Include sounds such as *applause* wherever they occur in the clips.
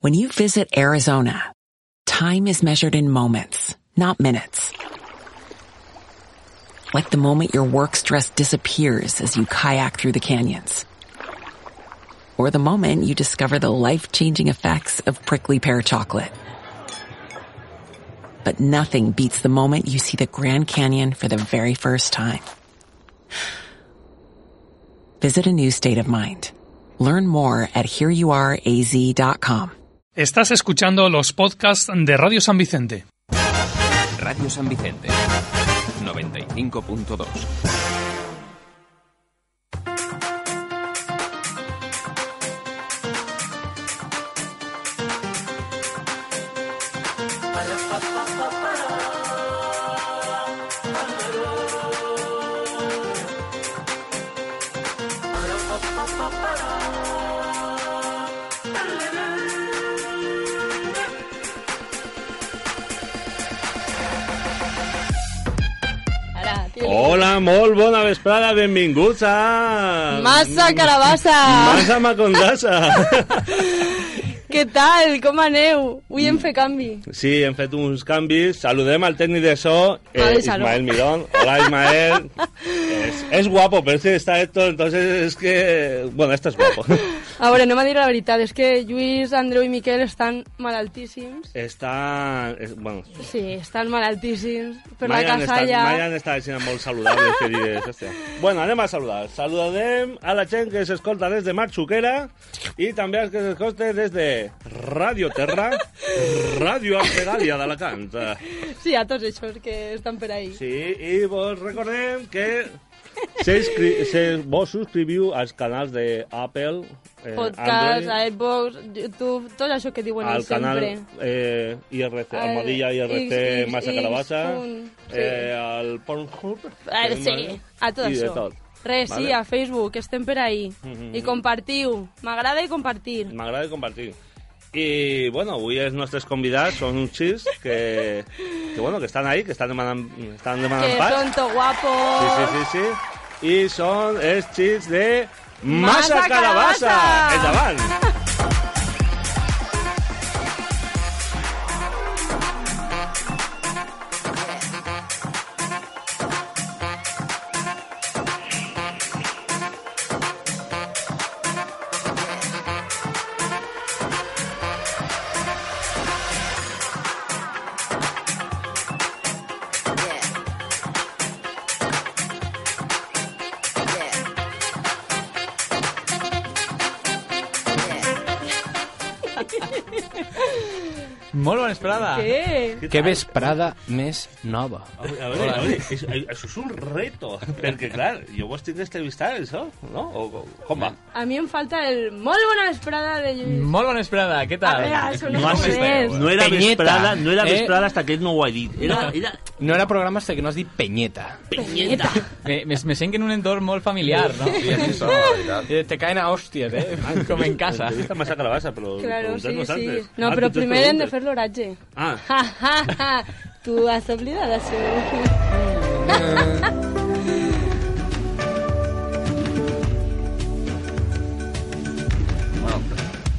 When you visit Arizona, time is measured in moments, not minutes. Like the moment your work stress disappears as you kayak through the canyons. Or the moment you discover the life-changing effects of prickly pear chocolate. But nothing beats the moment you see the Grand Canyon for the very first time. Visit a new state of mind. Learn more at hereyouareaz.com. Estás escuchando los podcasts de Radio San Vicente. Radio San Vicente 95.2 Ara, Ah, tio. Hola, molt bona vesprada, benvinguts a... Massa carabassa! Massa Macondassa! Què tal? Com aneu? Avui hem fet canvi. Sí, hem fet uns canvis. Saludem al tècnic de so, Ah, eh, de Saló. Ismael Mirón. Hola, Ismael. es, es guapo, pero este está Héctor, entonces es que... Bueno, este es guapo. A veure, anem a dir la veritat. És que Lluís, Andreu i Miquel estan malaltíssims. Està... Es, bueno, Sí, estan malaltíssims. Per mai la han estat- casalla... Mai han estat sent molt saludables, que digues, hòstia. Bueno, anem a saludar. Saludem a la gent que s'escolta des de Matxuquera i també als que s'escolta des de Radio Terra, Radio Arpegàlia d'Alacant. Sí, a tots aquests que estan per ahí. Sí, i vos recordem que se, inscri- se vos subscriviu als canals de Apple, eh, Podcast, Android, a Xbox, YouTube, tot això que diuen al ells canal sempre. eh, IRC, Al Almohadilla, IRC, X, Massa X, Calabassa, punt, sí. eh, al Pornhub... A, sí, eh, a tot i de això. tot. Res, sí, Vale. Mm, a Facebook, estem per ahí. I compartiu. M'agrada i compartir. M'agrada compartir. I, bueno, avui els nostres convidats són uns xics que, que, bueno, que estan ahí, que estan demanant, estan demanant Que pas. són to guapo. Sí, sí, sí, sí. I són els xics de Massa Massa Calabassa! Calabassa! Endavant! Molt bona esperada. Què? Que vesprada més nova. A veure, a veure, a veure, això, això és un reto, *laughs* perquè, clar, jo vos tinc d'estrevistar, això, no? O, o, com va? A mi em falta el molt bona vesprada de Lluís. Molt bona esperada, què tal? A veure, això no Com és. esteu? No Penyeta. Eh? hasta que ell no ho ha dit. Era, era... No era programa hasta que no has dit penyeta. Penyeta. Me, me, me sent que en un entorn molt familiar, no? Eh, Te caen a hòsties, eh? Com en casa. Entrevista massa calabassa, però Claro, sí, preguntem-nos sí. antes. No, Ah, però tu te primer hem de preguntes. fer l'oratge. Ah. Ja, ja, ja. Tu has oblidat això. Bueno,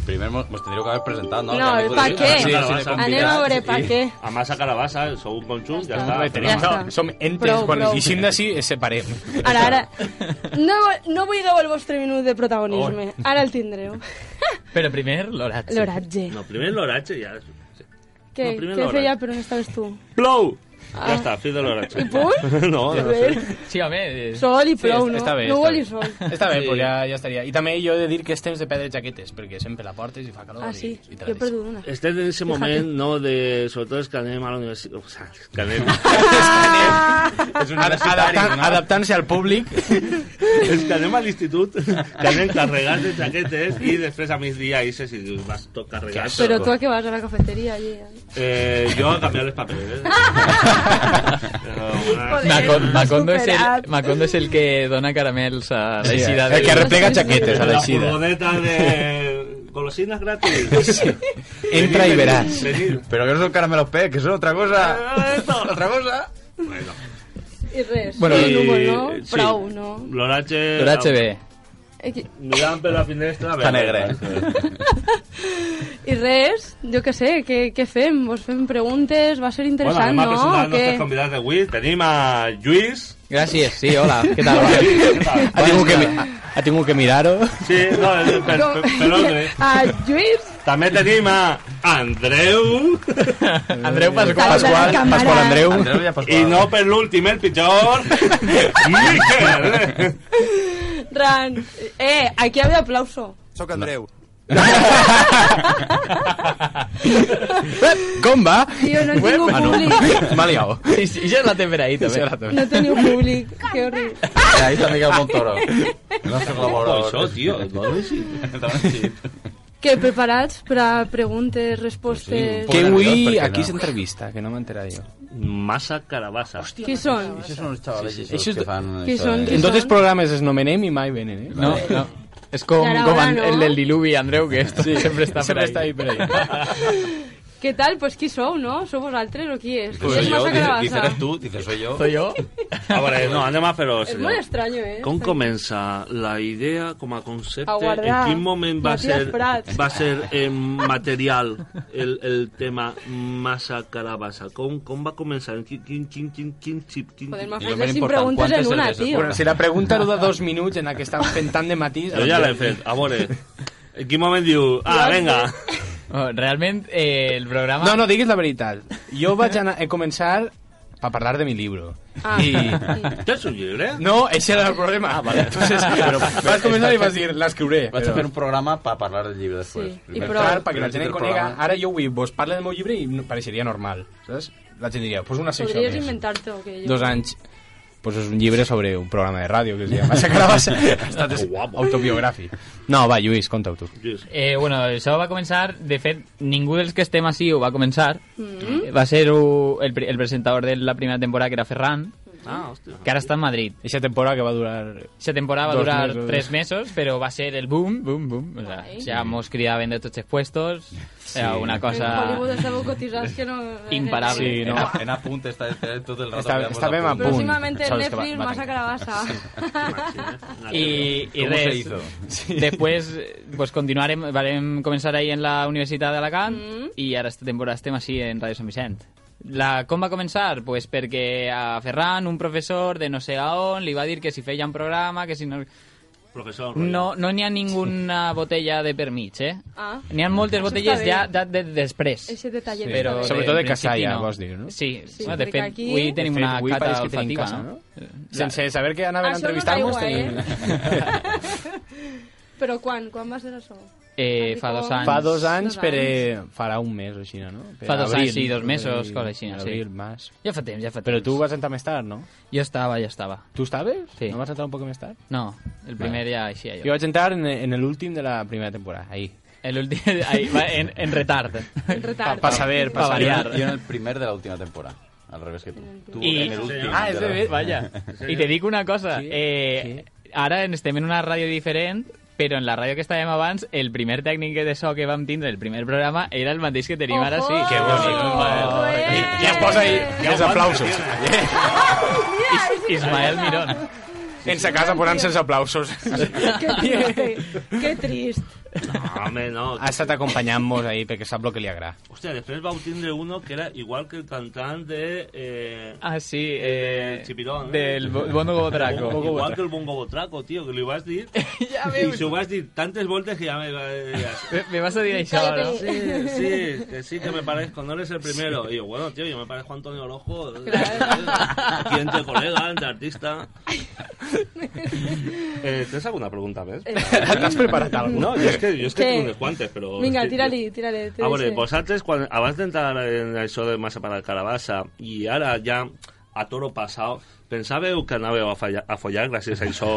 primer mos, mos tindríeu que haver presentat, no? No, Que pa què? Sí, sí, Calabassa, sí, Anem a veure per què. Ah, A massa calabassa, sou un conjunt, ja està. està. Bé, tenim, Ja no, està. som entes, Prou, quan prou. eixim d'ací eh, separem. Ara, ara. No, no buideu el vostre minut de protagonisme. Ara el tindreu. Però primer, l'oratge. L'oratge. No, primer l'oratge, ja... Què, no, primer què l'oratge. feia per on estaves tu? Plou! Ja està, fi de l'oratge. I punt? *laughs* No, A no sé. veure, Sí, home, eh, Sol i Sí, plou, est- no? està bé, No està vol bé. i sol. Està bé, pues ja, ja estaria. I també jo he de dir que és temps de perdre jaquetes, perquè sempre la portes i fa calor. Ah, sí? I, i te Jo he la deixes. perdut una. Estem en Este ese moment, no, de... Sobretot els que anem a la universitat... O sigui, que *laughs* anem... És un Ad- adaptant- universitari, no? Adaptant-se al públic. els que anem a l'institut, que anem carregats de jaquetes i després a migdia i si dius, vas tot carregat. Però tu a què vas? A la cafeteria, allí. eh? Eh, jo a canviar les papereres. *laughs* Però, bueno, Macon- Macondo, és Superat. el, Macondo és el que dona caramels a la Sí, eixida. el que replega és *laughs* jaquetes a la l'eixida. furgoneta de... Golosines gratis. Entra i veràs. Venid. Pero que no son caramelos P, que son otra cosa. *laughs* otra cosa. I res. Bueno, Bueno, núvol, no? Sí, Prou, no? L'oratge... L'oratge bé. Aquí. Mirant per la finestra... Està negre. I res, jo què sé, què, què fem? Vos fem preguntes? Va ser Bueno, interessant, anem a presentar els no? nostres convidats d'avui. Tenim a Lluís. Gràcies, sí, hola, què tal? va? Què tal? Ha tingut que, mi- ha- ha tingut que mirar-ho. Sí, no, per, per, per, per ordre. *laughs* A Lluís, També tenim a Andreu. Andreu Pasqual. Pasqual, Càmera. Pasqual Andreu. Eh, Andreu ja I no per l'últim, el pitjor, Miquel. Ran. Eh, aquí hi ha aplauso. Soc Andreu. eh, Com va? Tio, no teniu Ah, no. públic. *laughs* M'ha liat. I, I ja la temperadita, Sí, bé. ara també. No teniu públic. Que horrible. Ahí está Miguel *laughs* Montoro. El nostre Això, col·laborador. tio, *laughs* Que preparats per a preguntes, respostes... Sí, Que Nerviós, avui perquè aquí no. s'entrevista, que no m'he enterat jo. Massa carabassa. Hòstia. Qui són? Això són els xavalets sí, sí, Això és- que fan... Qui això són? de- En tots els són? programes es nomenem i mai venen, eh? No, no. És com, Ja era com hora, an- no? el del diluvi, Andreu, que esto sempre està Sempre per està ahí. ahí per ahí. Què tal? Pues qui sou, no? Sou vosaltres o qui és? Qui Soy és yo, massa dice, dice, carabassa? eres tú, dice, soy yo. Soy yo. A veure, no, anem a fer-ho. És senyor. molt estrany, eh? Com comença la idea com a concepte? A guardar. En quin moment va Matías ser, Prats. va ser eh, material el, el tema massa carabassa? Com, com va començar? Quin, quin, quin, quin, quin, quin, quin, Podem I lo fer més 5 important, preguntes en quantes una, cerveses? tio. Bueno, Però si la pregunta era de dos minuts en la que estan fent tant de matís... doncs Jo ja l'he fet, a veure. En quin moment diu, ah, venga. Oh, Realment, eh, el programa... No, no, digues la veritat. Jo vaig anar, he començar a parlar de mi libro. Ah, *laughs* I... *laughs* Tens un llibre? No, ese era el problema. Ah, vale. Entonces, però vas començar i vas dir, l'escriuré. Vaig a fer un programa per parlar del llibre després. Sí, i Primer prou. parlar, Clar, perquè la gent primer en conega. programa. Ara jo vull vos parla del meu llibre i no- pareixeria normal, saps? La gent diria, pues una secció Podries més. inventar-te o què? jo. Doncs Dos anys pues és un llibre sobre un programa de ràdio que es diu Massa Carabassa. Ha estat autobiogràfic. No, va, Lluís, conta-ho tu. Lluís. Eh, bueno, això va començar, de fet, ningú dels que estem així ho va començar. Va ser uh, el, pri- el presentador de la primera temporada, que era Ferran, Ah, *laughs* hòstia. que ara està en Madrid. Eixa temporada que va durar... Aquesta temporada va Dos durar mesos. tres mesos, però va ser el boom, boom, boom. O sea, ja mos cridaven de tots els puestos, era una En Hollywood cosa... estàveu cotitzats que no... eh, Imparable. Sí, Sí, no. no. *laughs* En, en apunt està tot el rato. Està- veamos estàvem a punt. Próximamente en Sabes que va- Netflix, va massa carabassa. I, i ¿Cómo se *laughs* res, hizo? després eh, pues, continuarem, vam començar ahí en la Universitat d'Alacant Mm. i ara esta temporada estem així en Ràdio Sant Vicent. La, com va començar? Pues perquè a Ferran, un professor de no sé a on, li va dir que si feia un programa, que si no... Professor. No no n'hi ha ninguna botella de per mig, eh? *laughs* Ah. N'hi ha moltes Això botelles està bé. ja de, de, després. Ese detallet. Sí, està bé. però Sobre- Sobretot de en Casalla, principi no. vols dir, no? Sí, Sí, sí bueno, de perquè fet, aquí- avui tenim De fet, una avui cata pareix que tenim olfativa, casa, no? no? Sense saber que anaven a Això Ah, no eh? entrevistar-nos... treu, tenim- *laughs* Però quan? Quan va ser això? Eh, fa dos anys. Fa dos anys, Dos per, eh, farà un mes o així, no? Per Fa dos anys, sí, dos mesos, cosa així, sí. Abril, mas. Ja fa temps, ja fa temps. Però tu vas entrar més tard, no? Jo estava, ja estava. Tu estaves? Sí. No vas entrar un poc més tard? No, el primer ja així Jo jo. vaig entrar en, en l'últim de la primera temporada, ahí. El últim, ahí, va, en, en retard. En retard. Pa saber, pa Pa saber. variar. Yo en el primer de la última temporada. Al revés que tú. Tú Y- en el último. Ah, és de pero- ver, vaya. I te dic una cosa, eh, ara en- estem en una ràdio diferent, però en la ràdio que estàvem abans, el primer tècnic de so que vam tindre, el primer programa, era el mateix que tenim ara sí. Que Ojo, bonic. Eh, Ja es posa ahí, els aplausos. *laughs* Ismael Mirón. *laughs* En sa casa posant-se els *laughs* aplausos. Que trist. Que *laughs* trist. Home, no. Ha estat acompanyant-nos ahí perquè sap el que li agrada. Hòstia, després vau tindre uno que era igual que el cantant de... Eh, Ah, sí, eh, del Chipirón, eh? del Bo- Bono Botraco. Igual que el Bongo Botraco, tío, que li vas dir... Ja I veus, s'ho vas dir tantes voltes que ja me va dir... me, me vas a dir això, no? Cállate. Sí, sí, que sí, que me parezco, no eres el primero. Y yo, bueno, tío, yo me parezco a Antonio Orojo. eh, Aquí entre colega, entre artista. Eh, ¿Tienes alguna pregunta, ves? Eh, T'has preparat alguna No, yo es que, yo es que ¿Qué? tengo unos guantes, pero... Vinga, es que- tira-li, tira-li. A veure, vosaltres, quan, pues abans d'entrar en això de massa per la carabassa, i ara ja a toro passat, pensàveu que anàveu a, fallar, a follar gràcies a *laughs* això?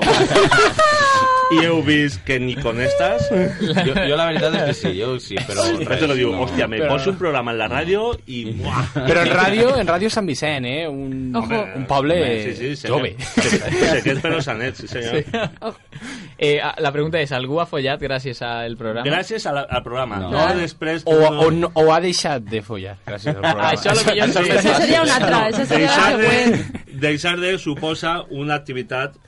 I heu vist que ni con estas... Yo, yo la verdad es que sí, yo sí, pero... Res, te lo digo, no. hòstia, me Però- poso un programa en la ràdio i... Buah, Però en ràdio, en ràdio Sant Vicent, eh? Un, Ojo. un poble sí, sí, sé jove. Que, sé, sé que és però sanet, sí senyor. Sí. Eh, ah, la pregunta és, algú ha follat gràcies al programa? Gràcies a la, al programa. No, Clar. després... O, o, no- o ha deixat de follar, gràcies al programa. Això lo millor Oh. *laughs* Això seria una altra, això seria la Deixar següent. de, deixar de suposa una activitat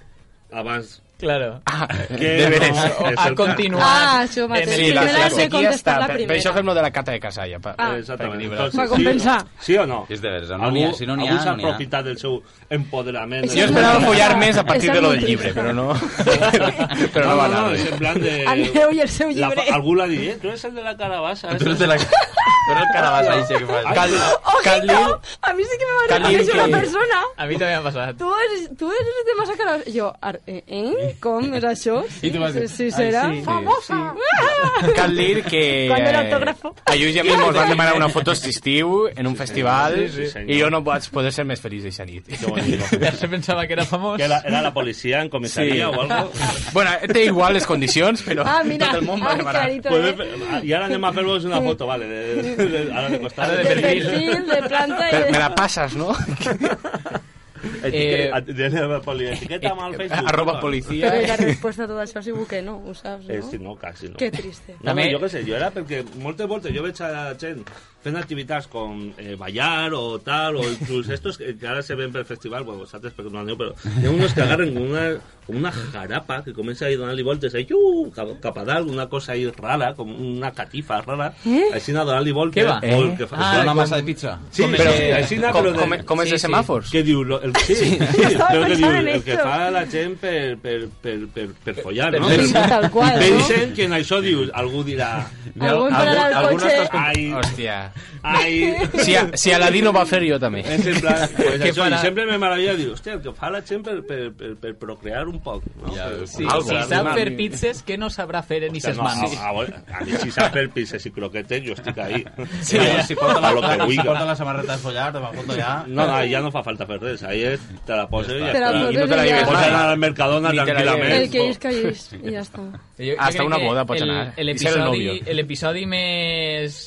abans *laughs* Claro. Ah, Deberes. no, A, a exacta- continuar. Ah, yo, Mateo, en el sí, hilo. me la sé contestar la per- primera. Per això fem lo de la cata de Casalla. Pa, Ah. Exactament. Perquè eh, Entonces, Va compensar. Sí, sí o no? És de veres, no n'hi ha- si no n'hi ha, algú s'ha no n'hi ha. aprofitat del seu empoderament. Sí, Jo esperava Estàs follar molt més a partir trist. de lo del llibre, però no... però no va anar és bé. en plan *laughs* de... El meu i el seu La, llibre. algú l'ha dit, eh? Tu eres el de la ¿eh? carabassa. Tu eres de la... Tu eres el carabassa, així que fas. Cal, cal dir... Ojito, a mí sí que me va a Cal dir reconocer que- una persona. A mi també m'ha passat. Tú eres, tú eres de masacrar. Jo, ar, eh, eh? Com era això? *laughs* I Sí, tu vas dir, sí, sí, "Ai, serà. sí, Famosa. Ah! Cal dir que... Quan era eh, autógrafo. A Lluís i a mi mos van demanar una foto aquest estiu en un festival sí, senyor. i jo no vaig poder ser més feliç d'aquesta nit. Ja se pensava que era famós. Que era, era la policia en comissaria o algo. Bueno, té igual les condicions, però *laughs* Ah, mira. tot el món va ah, demanar. clarito, Podem eh? fer- ah, I ara anem a fer-vos una foto, vale. De, de, de, ara de costat. Ara de De perfil. perfil, de planta i Però me de... la passes, no? Eh, Etiqueta, de, de, de poli, etiqueta amb el Facebook. Arroba no? policia. Però i la resposta a tot això ha sigut que *laughs* no, ho saps, Eh, sí, no? no, quasi no. Que *laughs* triste. No, També- no, jo què sé, jo era perquè moltes voltes jo veig a la gent fent activitats com eh, ballar o tal, o inclús estos que, que ara se ven per festival, bueno, vosaltres perquè no aneu, però hi ha uns que agarren com una, com una jarapa que comença a ir donant-li voltes ahí, uh, cap, cap a dalt, una cosa ahí rara, com una catifa rara, eh? així anar donant-li voltes. Què va? molt Eh? que fa, Ah, Una com- massa de pizza. Sí, com però, ese- així anar, Com, però de- com, com és Sí, de sí. semàfors? Què diu? Lo, el, sí, sí, però què diu? pensant en El que esto. fa la gent per, per, per, per, per follar, no? Sí, tal qual, I no? pensen que en això dius, algú dirà... Algú entrarà al algun cotxe... estàs- Ai, Hòstia. ai... Si, a, si Aladino va fer, jo també. És en *laughs* plan, pues Què això, farà? i sempre me maravilla dir, hòstia, el que fa la gent per, per, per, per procrear un poc, no? Ja, Per- sí, algo, si per sap animar. fer pizzas, què no sabrà fer en Hòstia, aquestes no, mans? a, a, veure, ah, a mi si sap fer pizzas i croquetes, jo estic ahí. Sí, si porta la, a lo que si vulga. porta la samarreta de follar, te va a foto ja... No, no, ja no fa falta fer res. Ahí és, te la poses i ja Te la està. poses I no te la i ja. lleves. Pots anar al Mercadona Ni te la tranquil·lament. El *laughs* que és, que és, i ja està. Jo- jo Hasta crec una que boda pots el- anar. el I ser el episodi- novio. El episodi més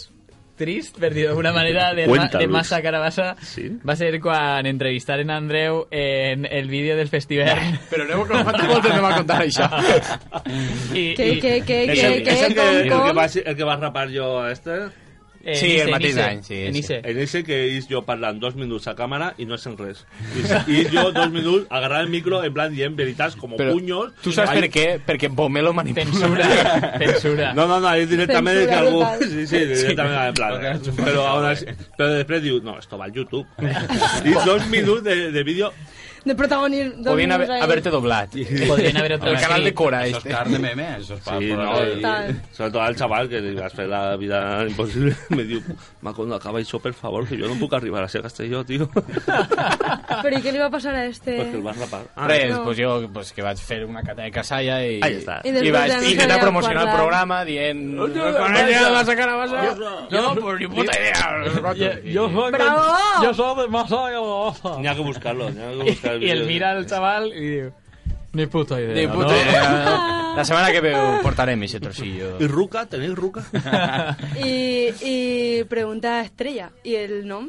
trist, per dir d'alguna manera, de, ma, Cuéntanos. de Massa Carabassa Sí. va ser quan entrevistaren a Andreu en el vídeo del festival. *laughs* Però aneu com fa moltes no m'ha contat això. I, Que, i, que, que, que, És el, és el, que, que, el, que com, va, com... ser- el que va rapar jo a este, eh, Sí, Nice, el mateix Nice, any, sí, en sí. Nice. en ese que és jo parlant dos minuts a càmera i no sent res. *laughs* I, i jo dos minuts agarrar el micro en plan dient veritats com Però punyos. tu saps Ahí- per què? Perquè Bomelo manipula. Censura, censura. No, no, no, és directament Censura que algú... total. Sí, sí, directament en plan. Però, aún así, però després diu, no, esto va al YouTube. *laughs* I dos minuts de, de vídeo... de *laughs* protagonisme... Podien haver, haver-te doblat. Podrien haver El canal de Cora, Això és este. car de meme, això és pa. Sí, no, por- Total. sobretot al xaval que li vas fer la vida *laughs* impossible, me diu, ma, cuando acaba això, per favor, que jo no puc arribar a ser castelló, *laughs* tio. Però i què li va passar a este? Perquè el vas rapar. Ah, Res, No. pues jo pues, que vaig fer una cata de casalla i... Ahí està. I després I vaig ja no intentar sabíem promocionar el parlar. programa dient... No, no, vas a cara, vas a... No, pues ni puta idea. soy, Bravo! yo soy de Massa Carabassa. N'hi ha que buscar-lo, n'hi ha que *laughs* buscar I vídeo. el mira el xaval i diu... Ni puta idea, Ni puta no? idea. no. La setmana que ve ho portarem, aquest trocillo. I Ruca, tenéis Ruca? I, i pregunta estrella. I el nom?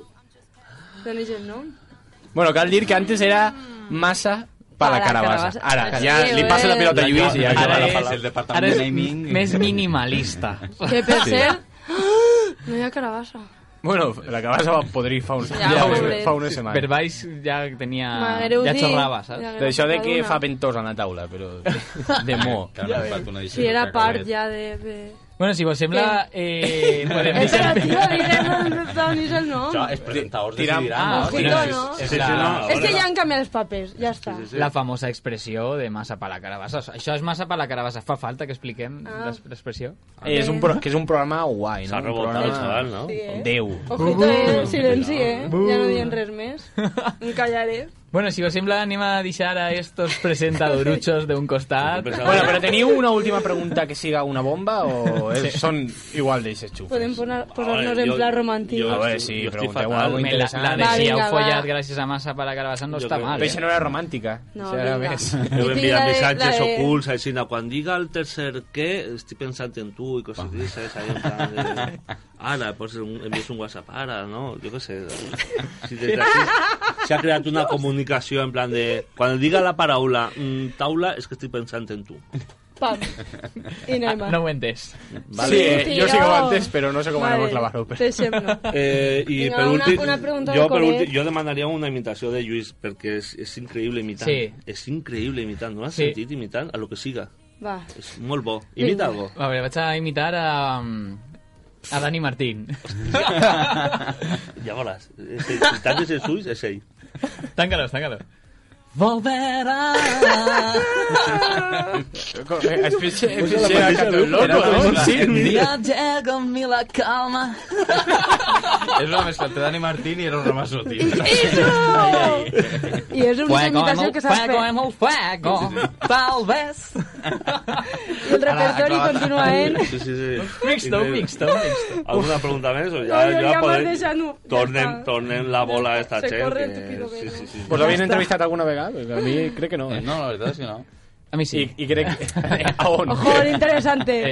D'on és el nom? Bueno, cal dir que antes era massa para Para la carabassa. carabassa. Ara, Sí, ja li bé. passa la pilota a Lluís i ja Ara acaba la és- falada. el departament ara és de naming. més *laughs* minimalista. Que per sí. cert... *gasps* ¡ah! No hi ha carabassa. Bueno, la carabassa va podrir fa, uns, Ja, ja, pobret. fa unes Per setmanes. baix ja tenia... M'haguereu Ja dit. xorrava, saps? D'això de que fa ventós a la taula, però de mo. Que ara m'ha fet una edició Si era de part cacahuet. ja de... de... Bueno, si vos sembla... Eh, podem Eh, deixar... però, tio, diguem el protagonista el nom. Això, els presentadors Tiram- decidiran, Ah, no? ojito, Tiram- no? és- Sí, sí, és la- no. És que ja han canviat els papers, ja està. Sí, sí, La famosa expressió de massa per la carabassa. Això és massa per la carabassa. Fa falta que expliquem Ah. l'ex- l'expressió? Eh, És un, pro, que és un programa guai, no? S'ha Un revoltat el programa- xaval, no? eh? Déu. Ojito, eh? Silenci, eh? Ja no diem res més. Em callaré. Bueno, si vos sembla, anem a deixar a estos presentadoruchos d'un costat. Bueno, però teniu una última pregunta que siga una bomba o és, són igual d'eixes xufes? Podem posar- posar-nos Ahora, en yo- plan romàntic. yo- A veure, sí, Jo estic pregunteu fatal. alguna Home, cosa la, la interessant. de Va, si heu vinga, va. follat gràcies a massa per la carabassa no Jo està crec- mal. Però això Eh? no era romàntica. No, això era vinga. més... *laughs* Jo I vam tinc la enviar de- missatges la de- ocults, així, no, quan diga el tercer què, estic pensant en tu i coses així, saps? Ahí en plan de... Ara, pues, un- envies un WhatsApp, ara, no? Jo què sé. Si des d'aquí s'ha creat una comunicació en plan de... Quan diga la paraula mm, taula, és que estic pensant en tu. Pam. Y no hay más. No ho he entès. Vale. Sí, Sí, yo sé tío. cómo antes, pero no sé cómo Vale, anamos la barro. *laughs* te sembla. Eh, i Vinga, per una- últim, una pregunta jo, del per Colet. últim, jo demanaria una imitació de Lluís, perquè és, és increïble imitant. Sí. És increïble imitant. No has Sí. sentit imitant a lo que siga. Va. És molt bo. Imita Vinga. algo. A veure, vaig a imitar a... mm, a Dani Martín. Ja veuràs. És ell. Si tanques els ulls, és ell. Tanca-los, tanca-los. Volverá la mateixa veu, loco, era ¿no? la Sí, misma. mira. Ya llega en mí la calma *laughs* Es una mezcla entre Dani Martín y Eros Ramazo, tío. I és l'única imitació que saps fer. el fuego Tal vez I el repertori continua *laughs* en... Sí, sí, sí. eh? Mixto, Increïble. mixto, mixto Alguna pregunta més? O No, jo ja, ja, ja m'has podem- deixat... No. Ja Tornem, està. tornem la bola a esta Se gent. corre el Que... tupido Sí, velo. sí, sí. ¿Os habéis entrevistado alguna vez? A mí creo que no. Eh, ¿eh? No, la verdad es que no. A mí sí Y, y creo que... *laughs* Eh, Aún. Ojo, interesante.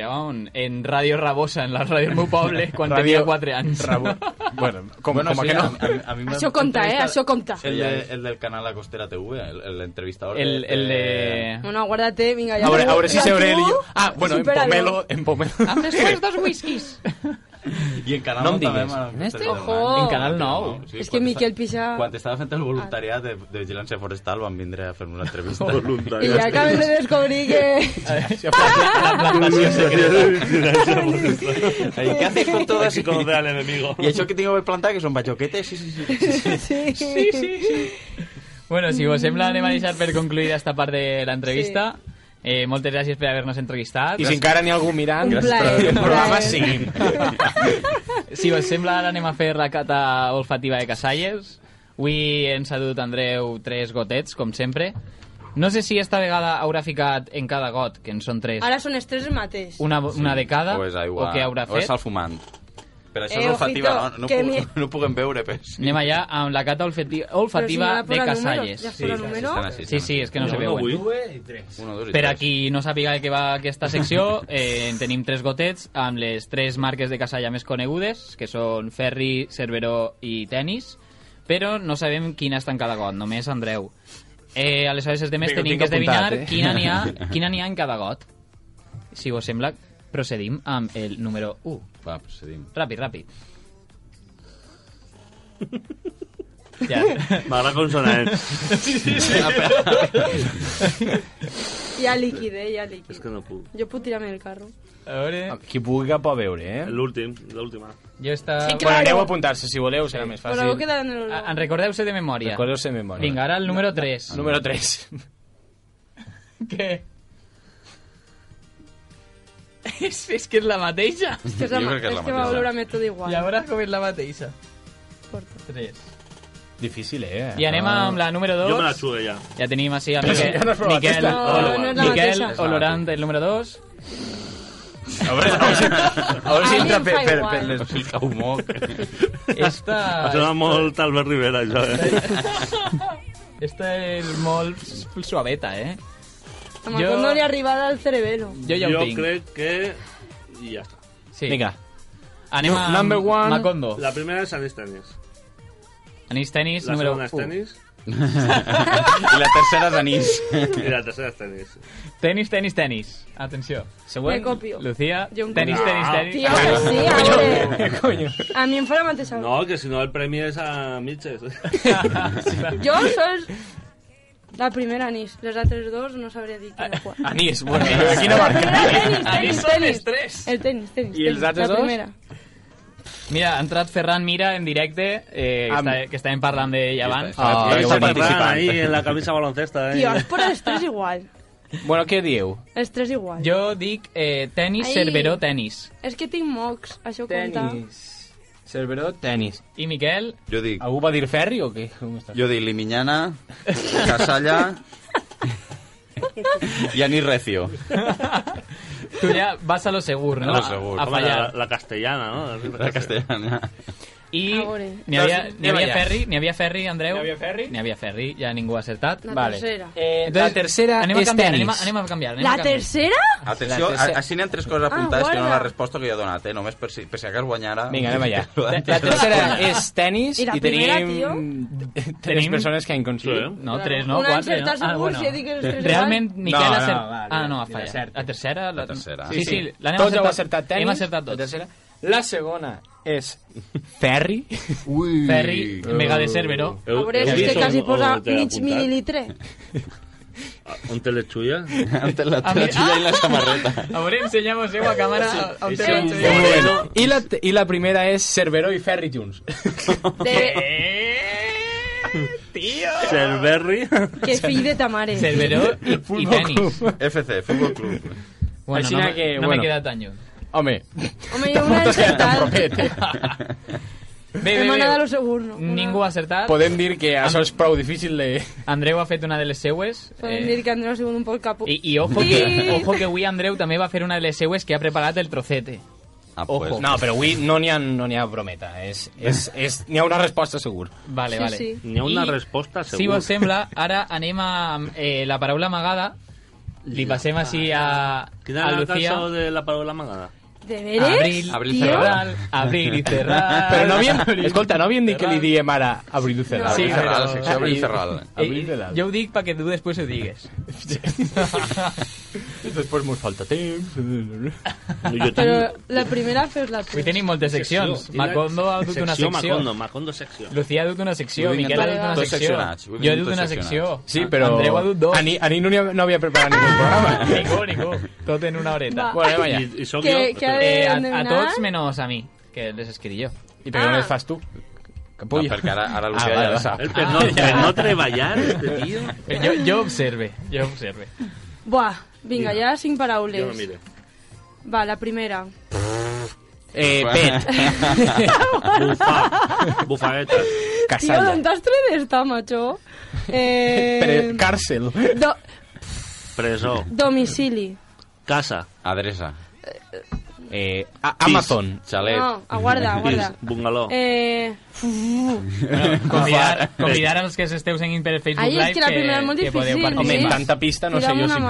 Eh, on, en Radio Rabosa, en la radio del meu poble, quan tenia 4 anys. Rabo- Bueno, como, Bueno, como sí, que a, no. eh. a- a mí me Això compta, eh? entrevista Això compta. El, de- el del canal La Costera TV, el, el entrevistador. El, el Eh, de... Bueno, guarda-te, vinga, ja... Ahora, ahora sí se abre el... Ah, Ah, bueno, en supéralo. pomelo, en pomelo. Després dos whiskies. Y en Canal No em no también. digues. Este? Ojo. En Canal Nou. És que Miquel Pixà- Quan estava fent el voluntariat de, de Vigilància Forestal van vindre a fer una *laughs* entrevista. I ja acabem de descobrir *laughs* que... Ay, ¿Qué haces con todo Así conocer al enemigo. ¿Y eso que tengo que plantar que son bachoquetes? Sí, sí, sí. *laughs* Sí, sí, sí. *laughs* Bueno, si vos sembla, anem a deixar per concluir esta part de l'entrevista. Eh, moltes gràcies per haver-nos entrevistat. Y sin cara ni algún mirán. Un plaer. El un programa plaer. sí. Si us sembla, ara anem a fer la cata olfativa de Casalles. Avui ens ha dut Andreu tres gotets, com sempre. No sé si esta vegada haurà ficat en cada got, que en són tres, Ara són els tres el mateix. una, una de cada, O és aigua. o què haurà O és fet. el fumant. Però això Eh, és olfativa, ojito, no, no, que puc, mi- no puguem veure, pes. Anem allà amb la cata olfati- Però si no olfativa la de posa números, Casalles. ja fora número. Estan així, Sí, sí, és que no se veuen. Uno, dos i Per tres. a qui no sàpiga de què va aquesta secció, eh, en tenim tres gotets amb les tres marques de casalla més conegudes, que són Ferri, Cerveró i Tennis, però no sabem quina està en cada got, només Andreu. Eh, aleshores, els demés Vinga, tenim tinc que esdevinar apuntat, eh? quina n'hi *laughs* ha, quina n'hi ha en cada got. Si vos sembla, procedim amb el número 1. Va, procedim. Ràpid, *laughs* ràpid. Ja. M'agrada com sona, eh? Hi ha líquid, eh? Hi ha És líquid. que no puc. Jo puc tirar-me del carro. A veure... Qui pugui cap a veure, eh? L'últim, l'última. Jo està... Ah, Sí, clar. Bueno, pues, aneu a apuntar-se, si voleu, serà més Però veu fàcil. quedar en el... Ah, En recordeu-se de memòria. Recordeu-se de memòria. Vinga, ara el número 3. Número *laughs* 3. Què? *laughs* és, és que és la *laughs* mateixa. És que, és la, Jo ma- crec que és és la que va mateixa. veure mètode igual. I a veure com és la mateixa. Porta. 3. Difícil, eh? I anem amb la número Jo me la 2. xugue ja. Ja tenim així a Però si Miquel, ja no has provat Miquel, esta. No, Olo- no és la Miquel mateixa. Olorant, el número 2. A veure, a veure, si- a veure si A mi entra em per, fa per, igual. per les... Humor. *laughs* Esta, Ha sonat molt Albert Rivera, això, eh? esta és molt suaveta, eh? A Jo- Macón no li ha arribat al cerebelo. Jo ja ho jo tinc. crec que... I ja està. Sí. Vinga. Anem a Number one. Macondo. La primera és Anís Tenis. Anís tenis, La número segona és Tenis I 1. la tercera és *laughs* anís. i la tercera és Tenis. Tenis, tenis, tenis. Atenció. Següent. Me copio. Lucía, Jo em tenis, copio. tenis, Ah, tenis. Tio, que *laughs* sí, a veure. Coño. A mi em fa la mateixa. No, que si no el premi és a mitges. Jo sols... La primera anís. Les altres dos no sabria dir quina qual. Anís, bueno, eh, quina marca? Tenis, són tenis, els tenis. tres. El tenis, tenis. I els tenis, altres la dos? primera. Mira, ha entrat Ferran Mira en directe, eh, que, Amb- està, que estàvem parlant d'ell abans. està. Ah, que Està bonic. parlant ahí en la camisa baloncesta, eh? Tio, es posa els tres igual. Bueno, què dieu? Els tres igual. Jo dic eh, tenis, Ai. Cerveró, tenis. És que tinc mocs, això compta. Cerveró, tenis. I Miquel, Jo dic... Algú va dir ferri o què? Com està? Jo dic Limiñana, Casalla... I anís recio. tu ja vas a lo segur, no? A lo segur. A, a Home, la, fallar. la castellana, no? La castellana. I Agore. n'hi havia, Doncs n'hi havia anem allà. Ferri, n'hi havia Ferri, Andreu. N'hi havia Ferri. N'hi havia Ferri, ja ningú ha acertat. La vale. tercera. Eh, la tercera anem a és canviar, tenis. anem a, anem a canviar. Anem a La canviar. tercera? Atenció, La tercera. a- així n'hi ha tres coses apuntades Ah, que no guarda. la resposta que jo he donat, eh? Només per si, per si cas guanyara... Vinga, anem allà. La *laughs* La, la tercera- tercera és tenis I i, la primera, tenim tres Tenim- persones que han coincidit. Sí. No, tres, no, Una quatre. No? Ah, encertar segur, si he dit que les tres Realment, igual. Miquel No, ha no, acertat. va, ah, no, ha la fallat. certa. La tercera... La tercera. Sí, sí, l'hem tots heu acertat. acertat tenis. Hem acertat La tots. tercera. La segona és Ferri. Ui. Ferri, Oh. mega de Cerbero. A veure, és que quasi oh, posa mig mil·litre. On te les xulles? Antes la A mi- Ah! tercera i la samarreta. A veure, ensenyamos eh, a càmera a- a un tema. sí. Eh, I la, I la primera és Cerveró i Ferri junts. De... *laughs* Cerberri. Que fill de ta mare. Cerveró i, i tenis. FC, Fútbol Club. Bueno, Així no, me- que, no bueno. m'he quedat tan lluny. Home, Home, jo una encertada. Ah, Bé, Hem bé, anat a lo bé. segur. no? Una- Ningú ha acertat. podem dir que això és prou difícil de... Andreu ha fet una de les seues. Eh, Podem dir que Andreu ha sigut un poc capo. I, I ojo que, ojo que avui Andreu també va fer una de les seues que ha preparat el trocete. Ah, Ojo. pues, No, però avui no n'hi ha, no n'hi ha brometa. És, és, és, n'hi ha una resposta segur. Vale, Sí, vale. sí. N'hi ha una I, resposta, Si segur. vos sembla, ara anem a eh, la paraula amagada. Li passem així a, Quina a era la Lucía. cançó de la paraula amagada? ¿De veres? Abril, Abril y cerrado. cerrar, abril *laughs* y cerrar. Però no havien... Escolta, no havien dit que li diem ara Abril La Cerral. Sí, sí, però- la secció Abril Ferral. Eh, Abril Cerral. jo ho dic perquè tu després ho digues. Després mos falta temps. Jo Però la primera fes la Avui tuya. tenim moltes seccions. Macondo ha dut una secció. secció. Macondo, Macondo secció. Lucía ha dut una secció, Avui Miquel ha anem dut una tots secció. seccionats, avui Jo he anem dut tots una secció. seccionats. Sí, però... Andreu ha dut dos. A ni, a ni no, n'hi ha- no havia preparat ningú programa. *laughs* Ningú, ningú. Tot en una horeta. Va. Bueno, anem allà. I, i sóc Que- jo. que- Eh, a, a Endevinar. tots menos a mi, que les escric jo. I per què no Ah. les fas tu? No, Capulla. perquè ara, ara Lucía Ah, vale, ja va. la sap. El per no, per no treballar, este tio. Eh, Jo, jo observe, jo observe. Buah, vinga, ja cinc paraules. Jo no mire. Va, la primera. Eh, pet. *laughs* Bufadeta. Tío, Casalla. ¿dónde has traído esta, macho? Eh, Pre càrcel. do- Presó. domicili. Casa. Adresa. Eh, a Amazon. Chalet. No, *laughs* aguarda, Pis. aguarda. Bungalow. Eh, Convidar, convidar als que s'esteu seguint per Facebook Ai, és Live que la primera és molt que podeu Home, amb difícil, eh? participar. tanta pista no sé Tira'm jo una si mà.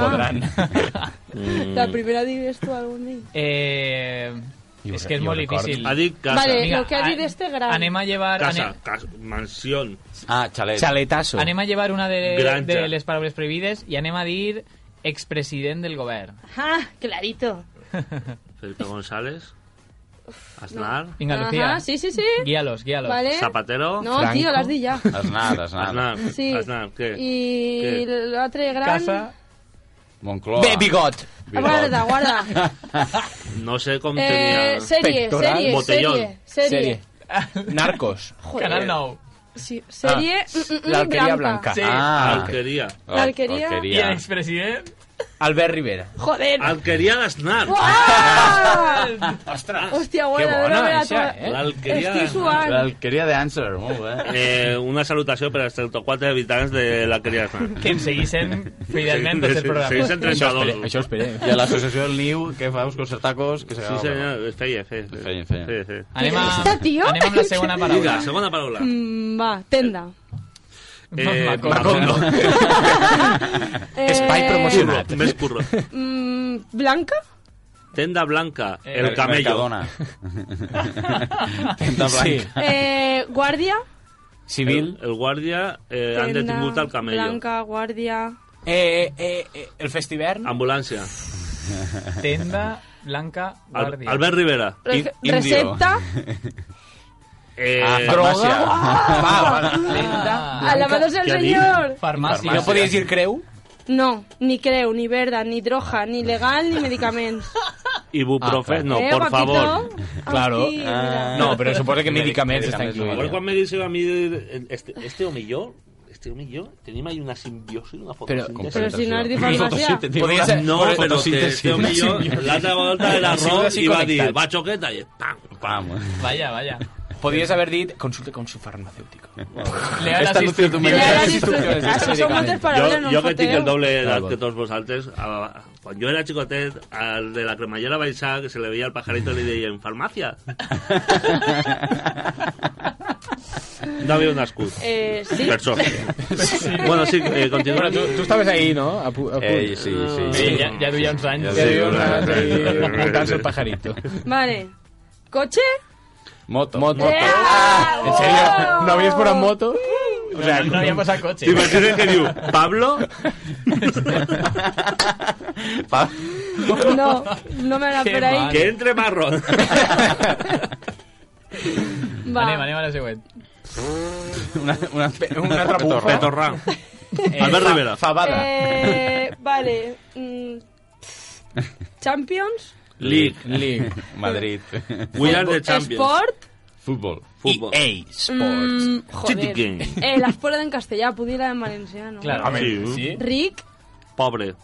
*laughs* podran. la primera dices tú algún día. Eh, Jo és re- que és jo molt recordo. difícil. Ha dit casa. Vale. lo que ha dit a- este gran. Anem a llevar... Casa, Anem, casa, mansión. Ah, chalet. Chaletazo. anem a llevar una de, Granja. de les paraules prohibides i anem a dir expresident del govern. Ajá, clarito. Felipe González. Aznar. Vinga, Lucía. Ajá, sí, sí, sí. Guíalos, guíalos. Vale. Zapatero. ¿Eh? No, Franco. tío, las di ya. Aznar, Aznar. Aznar. Sí. Aznar, ¿qué? Y ¿Qué? la otra gran... Casa... Moncloa. Bé, bigot. Bilbao. Guarda, guarda. No sé cómo Eh, Mm. tenía. serie, Pectoral. serie, Botellón. serie, *laughs* serie. Narcos. Joder. Canal 9. Sí, serie... mm, mm, mm, La alqueria Granca. blanca. Sí. Ah, Alquería. Or- Alquería. I Orquería. l'expresident... Albert Rivera. Joder. ¡Ah! Alquería de Aznar. ¡Guau! Ostres. Hòstia, guarda, bona, no me la això, trobat. eh? L'alqueria Estic de- suant. L'alqueria de Answer, molt bé. Eh, una salutación para els 34 habitantes de l'alqueria d'Aznar. que ens seguissin fidelment tots els Seguís programes. en 32. Això *laughs* esperem. I a l'associació del Niu, que fa uns concertacos, que Sí, s'acaba. senyor, feia, feia. Feia, feia. feia, feia. Anem, a, Està, tio? anem amb la segona paraula. Vinga, segona paraula. Mm, va, tenda. Eh, Macondo. *laughs* Espai Curro, promocionat. més curro. Eh, Mm, blanca? Tenda blanca, Eh, el camello. Mercadona. Tenta Sí. blanca. Eh, guàrdia? Civil. El, el guàrdia eh, han Tenda, detingut el camello. Blanca, guàrdia... Eh, eh, eh, el festivern. Ambulància. Tenda, Blanca, Al, Guàrdia. Albert Rivera. In- Re- indio. Recepta? Eh, Ah, Ah, farmàcia. Tenda, Alabados el Què ha dit? senyor! farmàcia. No podies dir creu? No, ni creu, ni verda, ni droga, ni legal, ni medicaments. Ibuprofen, no, eh, por guapito? favor. Claro. Aquí, mira. Eh, No, però suposo que medicaments estan medicaments, A ver, incloïts. quan me dice a mí eh, este, este home i jo, este home i jo, tenim ahí una simbiosi, una fotosíntesi. Però si no has dit farmàcia. Podria ser... No, però que Fotosíntesi. este home i jo, l'altra volta era Ha sigut Ron així i va dir, connectats. va xoqueta, i pam, Pam. Vaya, vaya. Podías haber dicho, consulte con su farmacéutico. Le ha Esta anuncio tu Mira, Mira, ahora sí, disfruto. sí, sí, Ah, Això sí, són sí, moltes sí. paraules en jo, un jo que tinc el foteu. doble d'edat Claro. que tots vosaltres, a- quan jo era xicotet, al de la cremallera baixar, que se le veia el pajarito, li deien farmàcia. no havia nascut. Eh, sí. Per *laughs* sort. Bueno, sí, eh, continua. Bueno, tú, tú estabas ahí, ¿no? A pu- a pu- Ey, sí, sí. Sí, ya, ya duia uns anys. Ja Y había Sí, una- sí, ahí, sí. apuntándose el pajarito. Vale. Cotxe. Moto. Moto. Eh, *laughs* oh. ¿En serio? ¿No habías por una moto? O sea, No, no havia passat cotxe. T'imagines que diu, Pablo? Pa- No, no me la Qué per ahí. mal. Que entre *laughs* marrón. Va. Anem, anem a la següent. Una, una, pe- una Una trapuja. Petorra. Eh, Albert Rivera. Fabada. Eh, vale. Mm, Champions. Eh, League. League. Madrid. We are the champions. Sport. Fútbol. Fútbol. Eh, EA Sports. Mm, City joder. Game. Eh, la fuera en castellà, podria la en valenciano. Claro. Hombre, Sí. sí. Ah. Rick. eh, Pobre.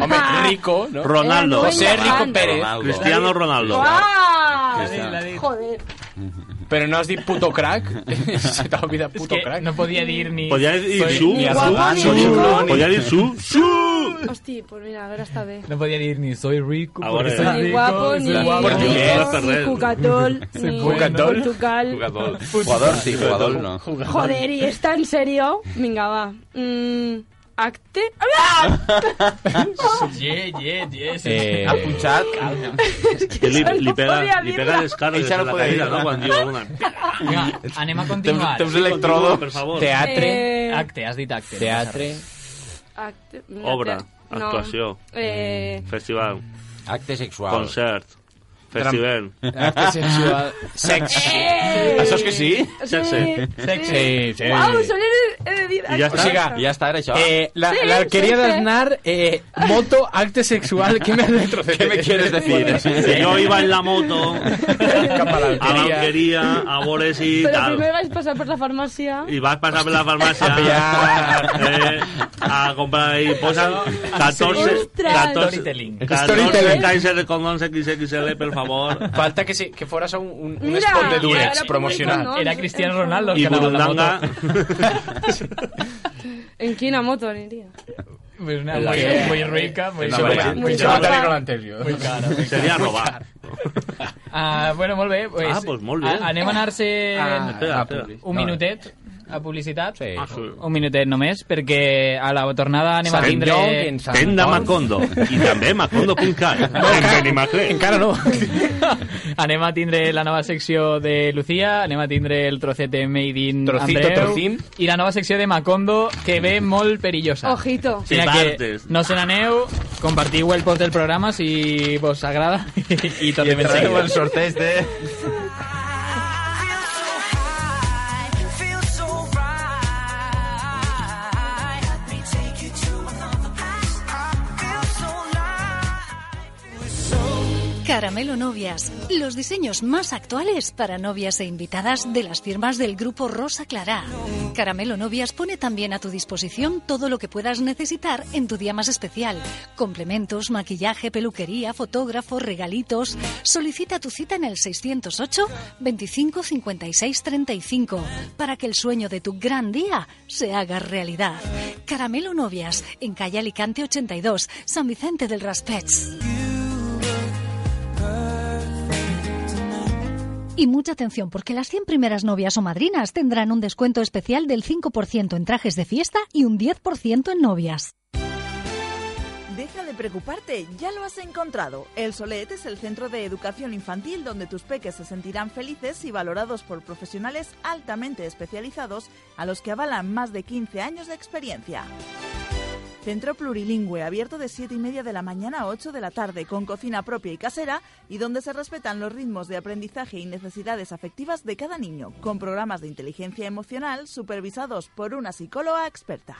Hombre, rico, ¿no? Ronaldo. Eh, no, José Venga, Rico Juan. Pérez. Ronaldo. Cristiano Ronaldo. ¡Ah! Cristiano. La dit. Joder. Pero no has dicho puto crack. *laughs* Se te olvida És puto que crack. no podia dir ni... Podía decir Soy- su. ni su- guapa, ni su- rico. Podía decir su. Su. Hosti, pues mira, a veure, està bé. No podia dir ni soy rico, A porque veure. soy Ni Ni rico. guapo, soy ni guapo. guapo. portugués, ni Portugués. *laughs* cucatol, ni Cucatol. Portugal. Jugador. Jugador sí, jugador no. Joder, ¿y está en serio? Venga, va. Mm, acte... ¡Ah! *laughs* Yeah, yeah, yeah. Ah, sí. *laughs* Eh, Ha punxat. Que li, Això no li pega, podia li dir-la. pega les cartes Això no en la podia cadira, dir-la. no? Quan diu alguna... Vinga, anem a Temps, continuar. temps electrodo. Per favor. Teatre. Eh, Acte, has dit acte. Teatre. acte- Obra, No. actuació, Mm, Eh, festival, Acte sexual. concert, festival... Acte sexual. *laughs* Sex. eh, Això és que sí? Sexe. Sí, sí. Uau, són les- he dit I acte. ja està. O siga, I ja està, era això. Eh, la, Sí, la arquería sí, de sí. Aznar, eh, moto, acte sexual. ¿Qué me has retrocedido? ¿Qué me *laughs* quieres decir? Que yo iba en la moto, Capa la a la alquería. alquería, a Bores y Però primer tal. vaig passar per la farmàcia. Y vas a pasar por la farmacia pillar. eh, a comprar y posan *laughs* 14, Ostras. 14, Storytelling. 14 Storytelling. Kaiser con 11 XXL, por favor. Falta que, se, que fueras a un, un, un Mira, spot de ahora Durex publico, promocional. ¿no? Era Cristiano Ronaldo el Y que anava amb la Burundanga, moto. En quina moto aniria? Pues una En la muy, que- muy rica, muy, en la Se muy- que- va- Muy se va a guapa. tener con la anterior. muy cara. muy cara. sería robar. Ah, bueno, molt bé. Pues, Ah, pues molt bé. a- Anem a anar-se Ah, espera, ah, espera. publi. un No, minutet a publicitat. Sí. Ah, sí. Un minutet només, perquè a la tornada anem a Sant tindre... Lloc en Sant Tenda Pol. Macondo y también Macondo.cat. En Benimaclet. Encara no. *laughs* anem a tindre la nova secció de Lucía, anem a tindre el trocet de Made in Trocito, Andreu, trocín. i la nova secció de Macondo, que ve molt perillosa. Ojito. Sí. O sigui que Partes. no se n'aneu, compartiu el post del programa si *laughs* vos agrada i tot de Entrarem seguida. al sorteig de... Caramelo Novias, los diseños más actuales para novias e invitadas de las firmas del grupo Rosa Clará. Caramelo Novias pone también a tu disposición todo lo que puedas necesitar en tu día más especial. Complementos, maquillaje, peluquería, fotógrafo, regalitos. Solicita tu cita en el 608 25 56 35 para que el sueño de tu gran día se haga realidad. Caramelo Novias, en calle Alicante 82, San Vicente del Raspech. Y mucha atención, porque las 100 primeras novias o madrinas tendrán un descuento especial del 5% en trajes de fiesta y un 10% en novias. Deja de preocuparte, ya lo has encontrado. El Solet es el centro de educación infantil donde tus peques se sentirán felices y valorados por profesionales altamente especializados a los que avalan más de 15 años de experiencia. Centro plurilingüe abierto de 7 y media de la mañana a 8 de la tarde con cocina propia y casera y donde se respetan los ritmos de aprendizaje y necesidades afectivas de cada niño, con programas de inteligencia emocional supervisados por una psicóloga experta.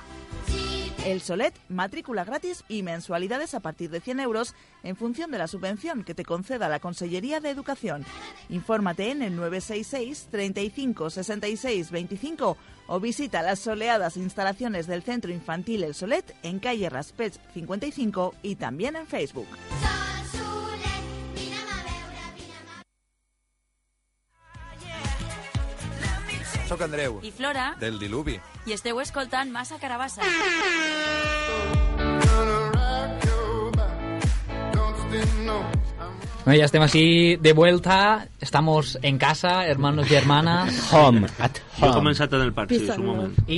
El Solet, matrícula gratis y mensualidades a partir de 100 euros en función de la subvención que te conceda la Consellería de Educación. Infórmate en el 966 35 66 25 o visita las soleadas instalaciones del Centro Infantil El Solet en calle Raspech 55 y también en Facebook. Sóc Andreu, I Flora, del Diluvi. i esteu escoltant Massa Carabassa. Bueno, ya estamos así de vuelta, estamos en casa, hermanos y hermanas. *laughs* Home, at Jo he home. començat en el parc, sí, és un moment. I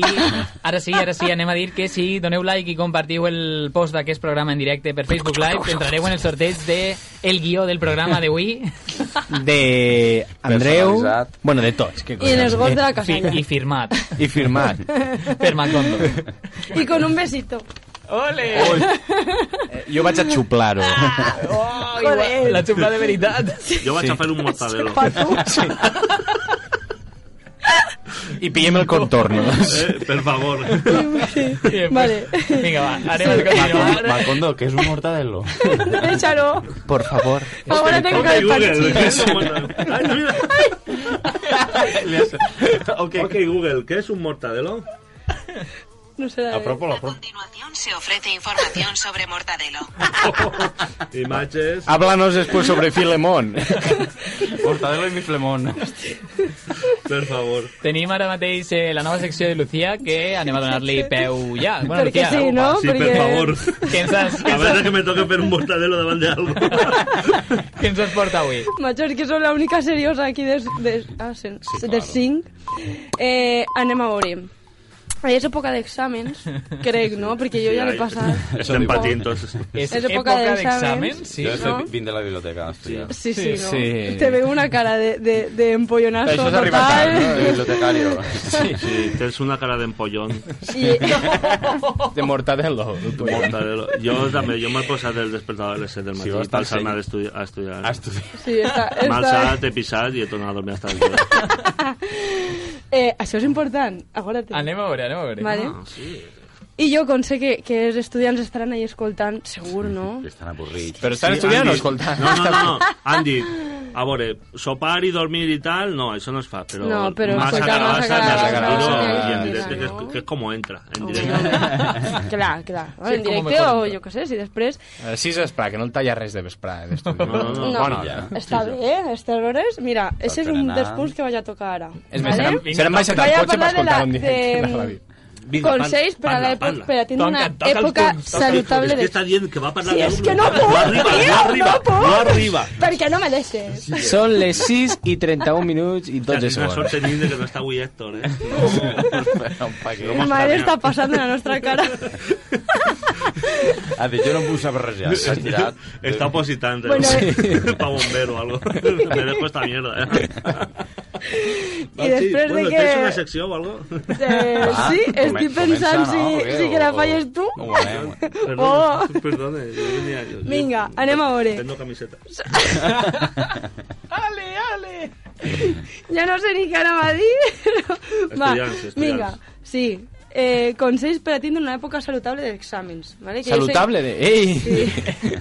ara sí, ara sí, anem a dir que si doneu like i compartiu el post d'aquest programa en directe per Facebook Live, entrareu en el sorteig de el guió del programa d'avui. De Andreu... Personalitzat. Bueno, de tots. que I en els coses. gols de la casalla. I firmat. I firmat. Per Macondo. Y con un besito. ¡Ole! *laughs* Jo vaig a xuplar-ho. La xupla de veritat. Jo vaig Sí. a fer un *laughs* mortadelo. Sí. I pillem el *laughs* contorno. Eh, per favor. Vale. pues, Vinga, va, anem a Macondo, continuar. Macondo, que es un mortadelo. Échalo. Por favor. Ahora tengo que ver Google, parchís. es un mortadelo? Ay, mira. Le hace- ok, Google, ¿qué es un mortadelo? No sé. A propos, a propos. continuación se ofrece información sobre Mortadelo. Images. Háblanos después sobre Filemón. *laughs* Mortadelo y mi flemón. Per favor. Tenim ara mateix eh, la nova secció de Lucía que anem a donar-li peu ja. Bueno, Perquè Lucía, sí, no? Sí, per Perquè- favor. Què ens has, què A ens has, ver, que me toque ver un mortadelo davant de algo. què ens has portat avui? Macho, es que soy la única seriosa aquí de, de, ah, sí, de cinc. Eh, anem a veure. És època d'exàmens, crec, no? Perquè jo ja l'he *laughs* passat. *laughs* Estem patint tots. És És època època d'exàmens, d'exàmens, sí, Yo estoy no? vin de la biblioteca. Sí, Sí, sí, no. Te veo una cara de, de, de empollonazo Això és total. arribar tard, no? *laughs* De bibliotecario. *laughs* Sí, sí, tens una cara d'empollón. De mortadelo. Mortadelo. Jo també, jo m'he posat el despertador a les 7 del matí Sí, va sí, estar per anar seny. a estudiar. A estudiar. A estudiar. Sí, està, M'he està... alçat, he pissat i he tornat a dormir hasta el *laughs* dia. Eh, això és important, aguarda't. Anem a veure, anem a veure. Vale. Ah, I jo, com sé que, que els estudiants estaran ahí escoltant, segur, no? Estan avorrits. Però estan estudiant o escoltant? No, no, no, no. han dit, a veure, sopar i dormir i tal, no, això no es fa, però, No, però massa escoltar massa carabassa, massa carabassa, carabassa, i en sí, directe, sí, que és, no? que és com entra, en Clar, *laughs* directe. *laughs* clar. Sí, Sí, en com directe mejor, o jo què sé, si després... Eh, Sí, s'espera, que no el talla res de vesprada. d'estudi. No, bueno, està bé, eh? Estes hores... Mira, això és un anar. dels punts que vaig a tocar ara. És més, vale? serem baixat al Vaig a cotxe per parlar de la- escoltar un *laughs* dia. de- Consells per a l'època... Per a tenir una època És salutable que de... està dient que va parlar Si de és un- que no puc, no arriba, tio, no arriba, no puc. no arriba. Per què no me deixes? Són les 6 i 31 minuts i 12 Tens una segons. sort tenint de que no està avui Héctor, *laughs* eh? *laughs* Mi madre està passant en la nostra cara. Ha dit, jo no em vull saber res ja. S'ha tirat. Està opositant. Bueno, eh, *laughs* Pa bombero o algo. Me dejo esta mierda, *laughs* eh? I després de bueno, que... tens una secció o *laughs* algo? Eh, Va, sí, comen- estic pensant comença, si, no? Bé, si que la o- falles tu. Oh. Perdone, *laughs* perdone. yo venía- yo- Vinga, yo- anem a veure. Tengo camiseta. Ale, ale. Ja no sé ni què anava *laughs* a dir, però... Estudiants, estudiants. vinga, sí. Eh, consells per a tindre una època salutable d'exàmens. ¿vale? Que jo sé- Salutable de... Ei!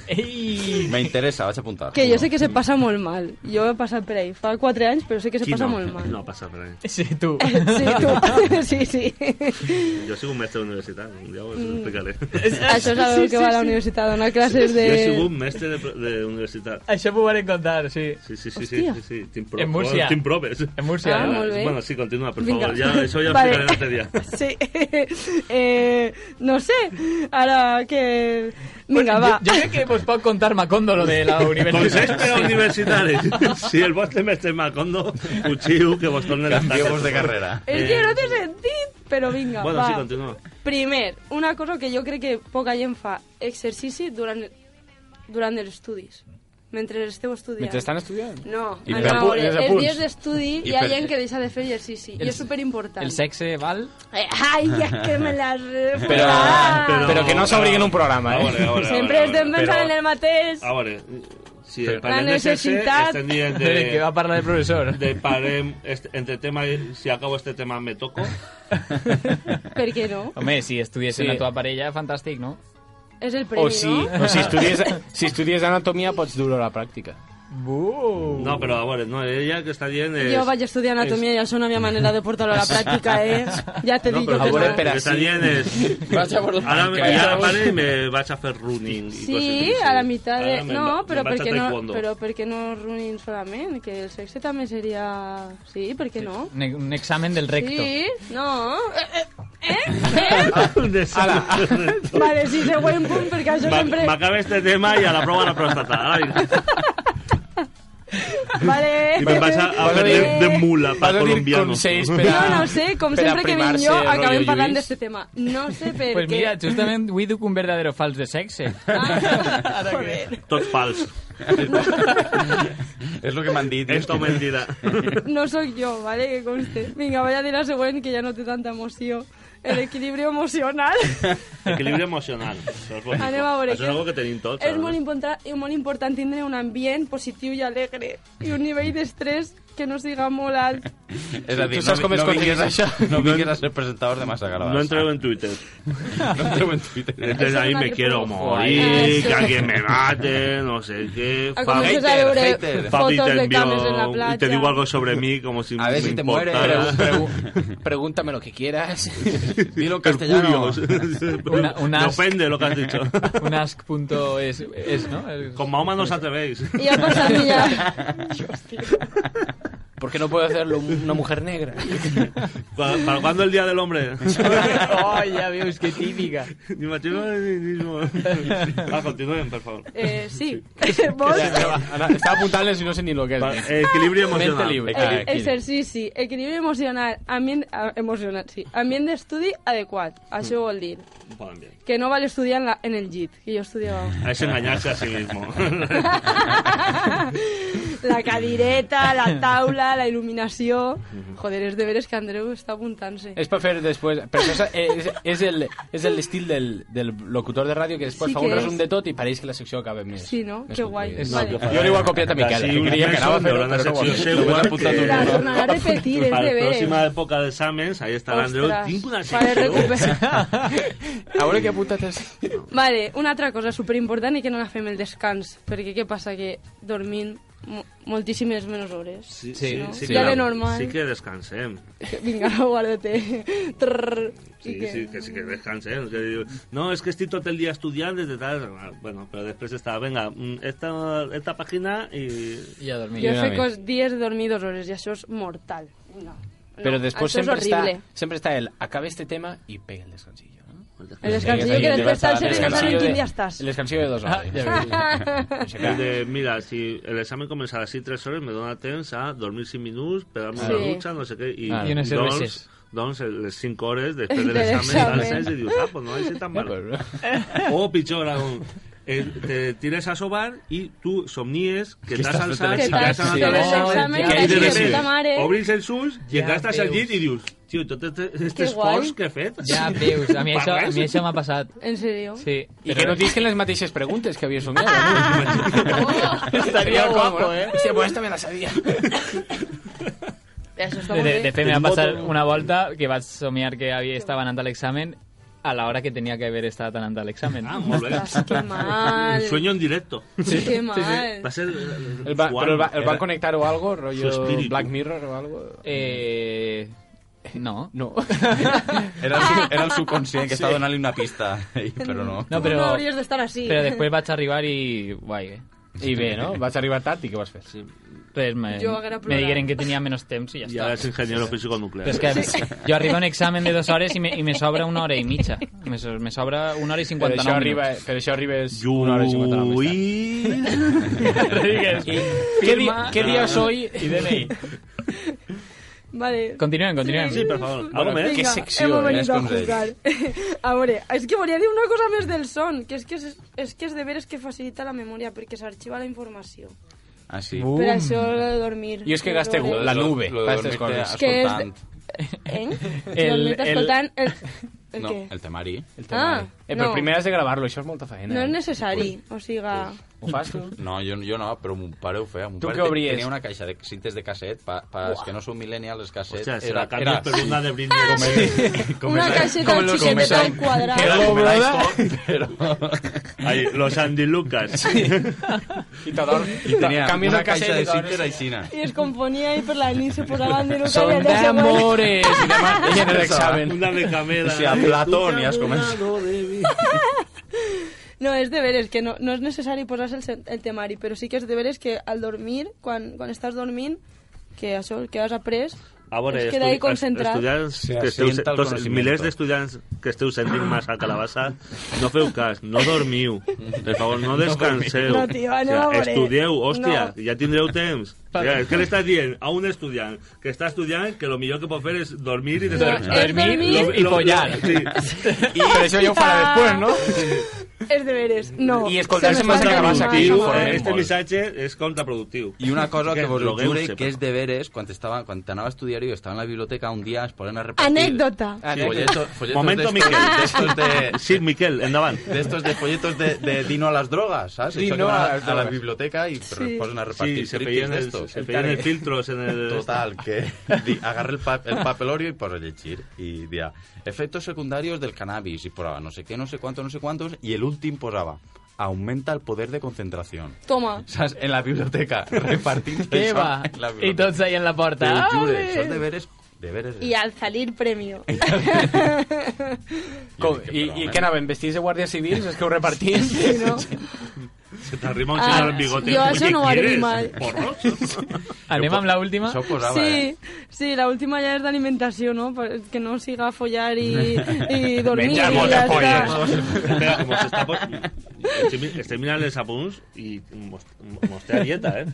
Ei! Me interessa, vaig a apuntar. Que jo sé que se passa molt mal. Jo he passat per ahí fa 4 anys, però sé que se passa molt mal. No passa per ahí. Sí, *laughs* tu. *laughs* Sí, tu. *laughs* sí, *laughs* sí. Jo soc un mestre d'universitat, un dia us ho Mm. *laughs* explicaré. *laughs* Això sabeu que va a la universitat, a donar classes de... Jo he sigut mestre de- d'universitat. Això m'ho van contar, sí. Sí, sí, sí, sí, Hòstia. sí, sí. Tinc En Múrcia. Tinc proves. En Múrcia, Ah, eh? molt bé. Bueno, sí, continua, per Vinga. favor. Ja, això ja ho Vale. explicaré este l'altre dia. *laughs* Sí. *laughs* Eh, no sé, ara que... Vinga, va. Jo, jo crec que vos pot contar Macondo *laughs* lo de la Consells per a universitat. *laughs* universitaris. Si el vostre mestre Macondo, cuchiu, que vos tornen les Canvieu-vos taxes. de carrera. És que Ah, no té sentit, però vinga, Eh, Bueno, va. sí, continua. Primer, una cosa que jo crec que poca gent fa, exercici durant, durant els estudis. Mentre esteu estudiant. Mentre estan estudiant? No, I anem per a apu- veure, els els apunts. dies d'estudi I hi ha per- gent que deixa de fer exercici, i El- és superimportant. El sexe, val? Eh, Ai, ja *laughs* que me l'has... Però, Ah. però, però que no s'obriguen un programa, eh? Vale, vale, Sempre estem pensant en el mateix. A veure, si Però- parlem La de sexe, necessitat. estem dient de... *laughs* Que va parlar el professor. este De parem, est- entre tema, i- si acabo este tema me toco. Per què no? Home, si estudies Sí. en la teva parella, fantàstic, no? És el premi, O si, no? o si, estudies, si estudies anatomia pots dur-ho a la pràctica. No, però a veure, no, ella que està dient... És, Jo vaig estudiar anatomia i això no hi havia manera de portar-ho a *laughs* la pràctica, eh? Ja te dic però jo que el no. que està dient és... Vaig a por la Ara, banca, ja, ja. pare, me vaig a fer running. i coses Sí, així. a la mitad de... Ara me'n No, va- però me'n vaig a perquè no, taekwondo. però perquè no running solament, que el sexe també seria... Sí, per què no? Un, un examen del recto. Sí, no... Eh, eh, Ara. Vale, sí, següent punt, perquè això Va- sempre... M'acaba este tema i a la prova de la pròstata. Ara vinc. Vale... I me'n vaig a, a fer de, de mula per colombiano. No, no ho sé, com per a sempre que vinc privar-se, jo rotllo acabem parlant Lluís. d'este este tema. No *laughs* sé per Pues què... mira, justament avui duc un verdadero fals de sexe. Ah, *laughs* *laughs* Tots fals. És el que m'han dit. *laughs* Esto mentida. No sóc jo, vale, que conste. Vinga, vaig a dir la següent, que ja no té tanta emoció. El equilibri emocional. Equilibri emocional. Això és bonic. Anem a veure Això és què- algo que tenim tots. És ara. molt, important, és molt important tindre un ambient positiu i alegre i un nivell d'estrès que no siga molt alt. És a dir, Tu saps vi- com es vinguis- aconsegueix això? No vinguis a ser presentador de Massa Calabas. No entreu en Twitter. No entreu en *laughs* Twitter. Entonces ahí me quiero morir, que alguien me mate, no sé qué. Ah, comienzas a ver, eh, Fabi fotos te de envió cames en la y te playa. digo algo sobre mí como si A ver me si te mueres. importara. *laughs* Pregúntame lo que quieras. Dilo en Perjurios. *laughs* Una- un Me ask. ofende lo que has dicho. *laughs* Un ask punto es, es ¿no? Es- Con Mahoma no os atrevéis. I ha *laughs* passat ja. *laughs* ¿Por qué no puede hacerlo una mujer negra? ¿Para, para cuándo el Día del Hombre? Oh, ya veo, es que típica. Ni machismo ni mismo. Ah, continúen, por favor. Eh, sí. Vols? Estaba apuntando si no sé ni lo que es. Pa- eh. equilibrio emocional. Mente libre. Equilibri- Ah, equilibri. Eh, Exercici, equilibri emocional, ambient, ah, emocional, sí. ambient d'estudi adequat. Això vol dir Poden bien. que no val estudiar en, la, en el llit, que jo estudiava. Es engañarse a *laughs* sí mismo. La cadireta, la taula, la il·luminació... Mm-hmm. Joder, és de veres que Andreu està apuntant-se. Es para hacer después. Pero eso es, es- es el, es el estilo del, del locutor de radio que después Sí fa que un és. resum de todo y paréis que la sección acabe més. Sí, no? més Que guai. concluïda. Vale. Jo l'he igual copiat a Miquel, eh, Casi que un creia que anava a beso, fer-ho, però l'han però no ho secció ha fet. seu, Només ha que- apuntat un La nom. tornarà a repetir, és Para de la próxima veres. época de exámenes, ahí estará Andreu. Ostres, Tinc una para secció. recuperar. A veure què ha apuntat és... *laughs* Ah, Vale, una altra cosa superimportant i que no la fem el descans, perquè què passa? Que dormint mo- moltíssimes menys hores. Sí, no? sí, ja que- de normal. Sí que descansem. Vinga, guarda-te. Trrr. Sí, I que- sí, que sí que descansen. que digo, no, es que estoy todo el día estudiando desde tal. ah, Bueno, pero después está, venga, mm, esta, esta página y. Y a dormir. Jo sé que els dies de dormir dues hores i això és mortal. Vinga. No, Però després això és sempre està, horrible. sempre està el acabe este tema i pega el descansillo. ¿no? El descansillo que després t'has de pensar en quin dia estàs. El descansillo de dos Ah, hores. *laughs* *laughs* ja El de, mira, si el examen comienza a las 6, 3 horas, me dona temps a dormir sin minutos, pegarme una Sí. ducha, no sé qué. Y, Ah, y unas doncs- cerveces. doncs, el- les 5 horas después del Del examen, examen. alces y dices, ah, pues no hay ser tan mal. O pitjor aún, eh, te tires a sobar y tú somníes que Que estás estás fent al SAT Que y que has estàs anat fent al els examen. exàmens, ja, I de vaig sí. dir, puta repente mare. obrís els ulls, llegaste Ja al llit veus. i dius tio, tot aquest Que esforç guai. que he fet Ya veus, a mí eso, a mí eso me ha pasado. En serio? Sí. I que no dices diguin les mateixes preguntes que havia somiat. *laughs* ¿no? Estaría guapo, eh? Hòstia, pues esta me la sabia. Això està De, molt de, bé. de fet, me va pasar una volta que vas somiar que havia estat anant a l'examen a la hora que tenia que haver estat anant a l'examen. ah, molt bé Ostres, que mal. sueño en directo Que mal. va ser eh, El va, però el, va, el van connectar o algo, Su rollo espíritu. Black Mirror o algo? Eh... No. No. Era el, sub- era el subconscient que estava donant-li una pista, *laughs* ell, però no. No, Tu no però, hauries d'estar així. però després vaig arribar i... Guai, eh? I bé, no? Vas arribar tard i què vas fer? Pues me, Jo haguera plorat. me digueren que tenia menys temps i ja y està. ahora es ingeniero físico nuclear Però és que jo arribo a un examen de dues hores i me, i me sobra una hora i mitja. Me, so- me sobra una hora Per i 59 això, arriba, eh. minuts. per això arribes una hora i 59 més *laughs* tard. Lluís *laughs* Arriba... Què, di què dia soy? I Eh, DNI. Vale. Continuem, continuem. sí, per favor algo més Vinga, secció, hemos eh? venido És a com de- jugar. A veure, és que volia dir una cosa més del son, que és que és, és que és de veres que facilita la memòria, perquè s'arxiva la informació. Ah, sí. Per això lo de dormir. Jo és que gaste Lo de- la nube Lo de per aquestes dormirte coses. Que és- escoltant. Eh? El- El, el, escoltant... El, el No, què? el temari. El tema, Ah, eh? eh, però no. primer has de gravar-lo, això és molta feina. No és eh? necessari, o siga... Ho fas, tu? No, jo, jo no, però mon pare ho feia. Mon Tu pare què te- obries? Tenia una caixa de cintes de casset, pa, pa els que no són millennials, els casset... Hòstia, si la canvies per *laughs* una de Britney Com Spears. el- com Una el- caixeta com el- chiqueteta com el- al quadrado. que era Qué com el boluda. eh? iPhone, però... Ahí, los Andy Lucas. I t'ador... I tenia Canvies una el caixa casset de i t'adornes. cintes aixina. Y es componía ahí por la nit, se posaban de Lucas Son y de se amores y demás. *laughs* Ella en el examen. Una de camela. O sea, Platón, ja has començat. No, es deberes, que no, no es necesario posarse el, se- el temari, pero sí que es deberes que al dormir, cuando estás dormindo, que això que has après, A es veure, Ah, estu queda ahí concentrat. estudiants Se que esteu, asienta el tots, conocimiento. milers d'estudiants que esteu sentint massa calabassa, no feu cas, no dormiu, per favor, no descanseu. No, tio, anem a veure. estudieu, hòstia, No. ja tindreu temps. O sigui, és que li estàs dient a un estudiant que està estudiant que el millor que pot fer és dormir i descansar. és dormir Lo- i lo- follar. Sí. Pero eso yo fuera después, ¿no? *laughs* Es deberes, no. Y escoltar-se se me más escapa. grabats aquí. Contraproductiu, Joder, eh, Este molt. missatge és contraproductiu. Y una cosa que Que vos lo lo que jure sepa. que es de veres, cuando estaba, cuando anava a estudiar y estaba en la biblioteca, un día es ponen a repartir... Anécdota. Ah. Sí, folletos, folletos Momento, de estos- Miquel. de estos de, Sí, Miquel, endavant. de estos de folletos de, de Dino a las drogas, ¿sabes? Dino Eso que van a a, las a la drogas. biblioteca y pero Sí. ponen a Sí, *laughs* repartir se friquis pedían, de el, estos. se pedían el filtros en el... Total, que *laughs* di- agarra el, pa- el papelorio y por elegir. Y día efectos secundarios del cannabis. Y probaba no sé qué, no sé cuánto, no sé cuántos. Y el último posaba. Aumenta el poder de concentración. Toma. ¿Sabes? En *laughs* la biblioteca. Repartir Què eso va? en la I biblioteca. tots ahí en la Te porta. lo juro, son deberes... Deberes. Y al salir *laughs* premio. *laughs* Com, I, i què anaven? Vestits de guàrdies civils? És que ho repartien? Sí, no? Se te arrima un Ah, señor en bigote. yo Oye, eso no ¿quieres? abrí mal. *laughs* ¿Porros? Anem amb l'última. Això posava, eh? Sí, sí, la última ya es de alimentación, ¿no? Per- Que no siga a follar y, y dormir. Menjar y moltes ja està. polles. Espera, como se está... este Estoy mirando el apunts y mos- mostea dieta, ¿eh?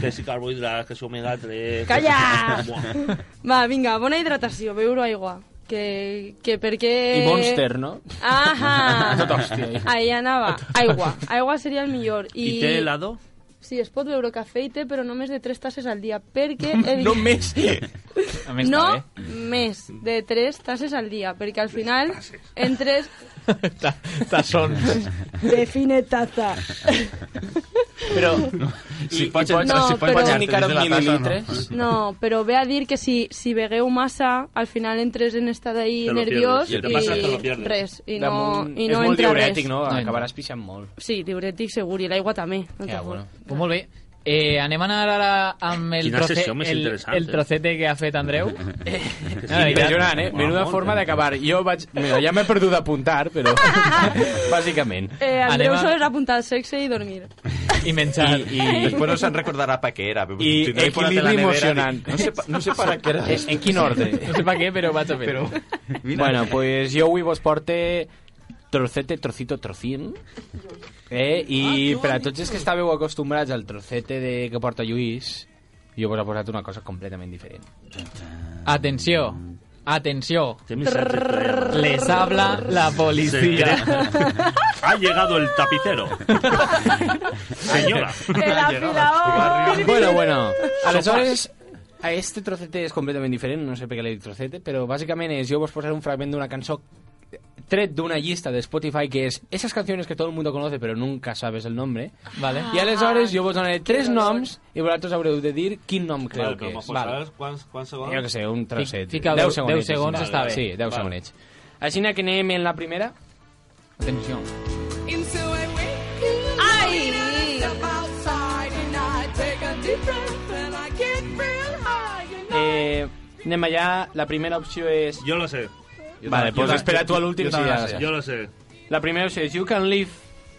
Que si carbohidratos, que si omega 3... Calla! Buah. Va, vinga, bona hidratació, beure aigua. Que, que perquè... I Monster, no? Ahà! Tot hòstia. Ahí anava. Aigua. Aigua seria el millor. I, ¿Y té helado? Sí, es pot beure cafè i té, però només de 3 tasses al dia, perquè... El... No més. A eh. més, no no. *laughs* Bé. més de 3 tasses al dia, perquè al final en 3... Ta- *laughs* Tassons. Define taza. Però... Si i- i pots- pots- no, si pots però- indicar Des de la tassa, no. mil·lilitres? No, però ve a dir que si, si begueu massa, al final entres en estat ahí Te lo nerviós pierdes. I el que i, passa, te lo pierdes. res, i no, Damunt- i no és molt entra diurètic, res. no? No, no. Acabaràs pixant molt. Sí, diurètic segur, i l'aigua també. No Ja, t'ho bueno. juro. Pues molt bé. Eh, anem a anar ara amb el, Quina troce, sessió més el, interessant, el eh? trocete que ha fet Andreu. Eh, Sí, impressionant, eh? Menuda Molt, forma eh? d'acabar. Jo vaig... Mira, ja m'he perdut d'apuntar, *laughs* però... Bàsicament. Eh, Andreu Anem a- sols apuntar al sexe i *laughs* dormir. I menjar. eh, Y, y después no se han recordado para qué era. Y Si no hay por ahí en la equilibrio nevera, emocionante. No sé, pa- no sé para *laughs* qué era. En, en *laughs* quin ordre? No sé per què, però vaig a fer. Pero, mira, Bueno, pues jo avui vos porte trocete, trocito, trocín. Eh? Ah, I per a tots els que estàveu acostumbrats al trocete de que porta Lluís, jo vos he posat una cosa completament diferent. Atenció. Atenció. ¿Qué mensaje trae? Les habla la policía. Ha llegado el *laughs* tapicero. Señora. El afilador. Bueno, bueno, aleshores... A este trocete és completament diferent, no sé per què l'he dit trocete, però bàsicament és, jo vos posaré un fragment d'una cançó tret d'una llista de Spotify que és esas canciones que todo el mundo conoce però nunca sabes el nombre. Vale. Ah. I aleshores jo vos donaré tres noms i vosaltres haureu de dir quin nom creu Vale, que como és. Vale. posaràs, quants- quants segons? Jo que sé, un trosset. fica Deu deu- segonets, deu segons així. està bé. Sí, 10 Vale. segonets. Així que anem en la primera. Atenció. Ai! Eh, anem allà. La primera opció és... Yo lo sé, Vale, jo pues ta- espera tu a l'últim. jo si ta- ja jo la saps. yo lo sé. La primera opció és You Can Leave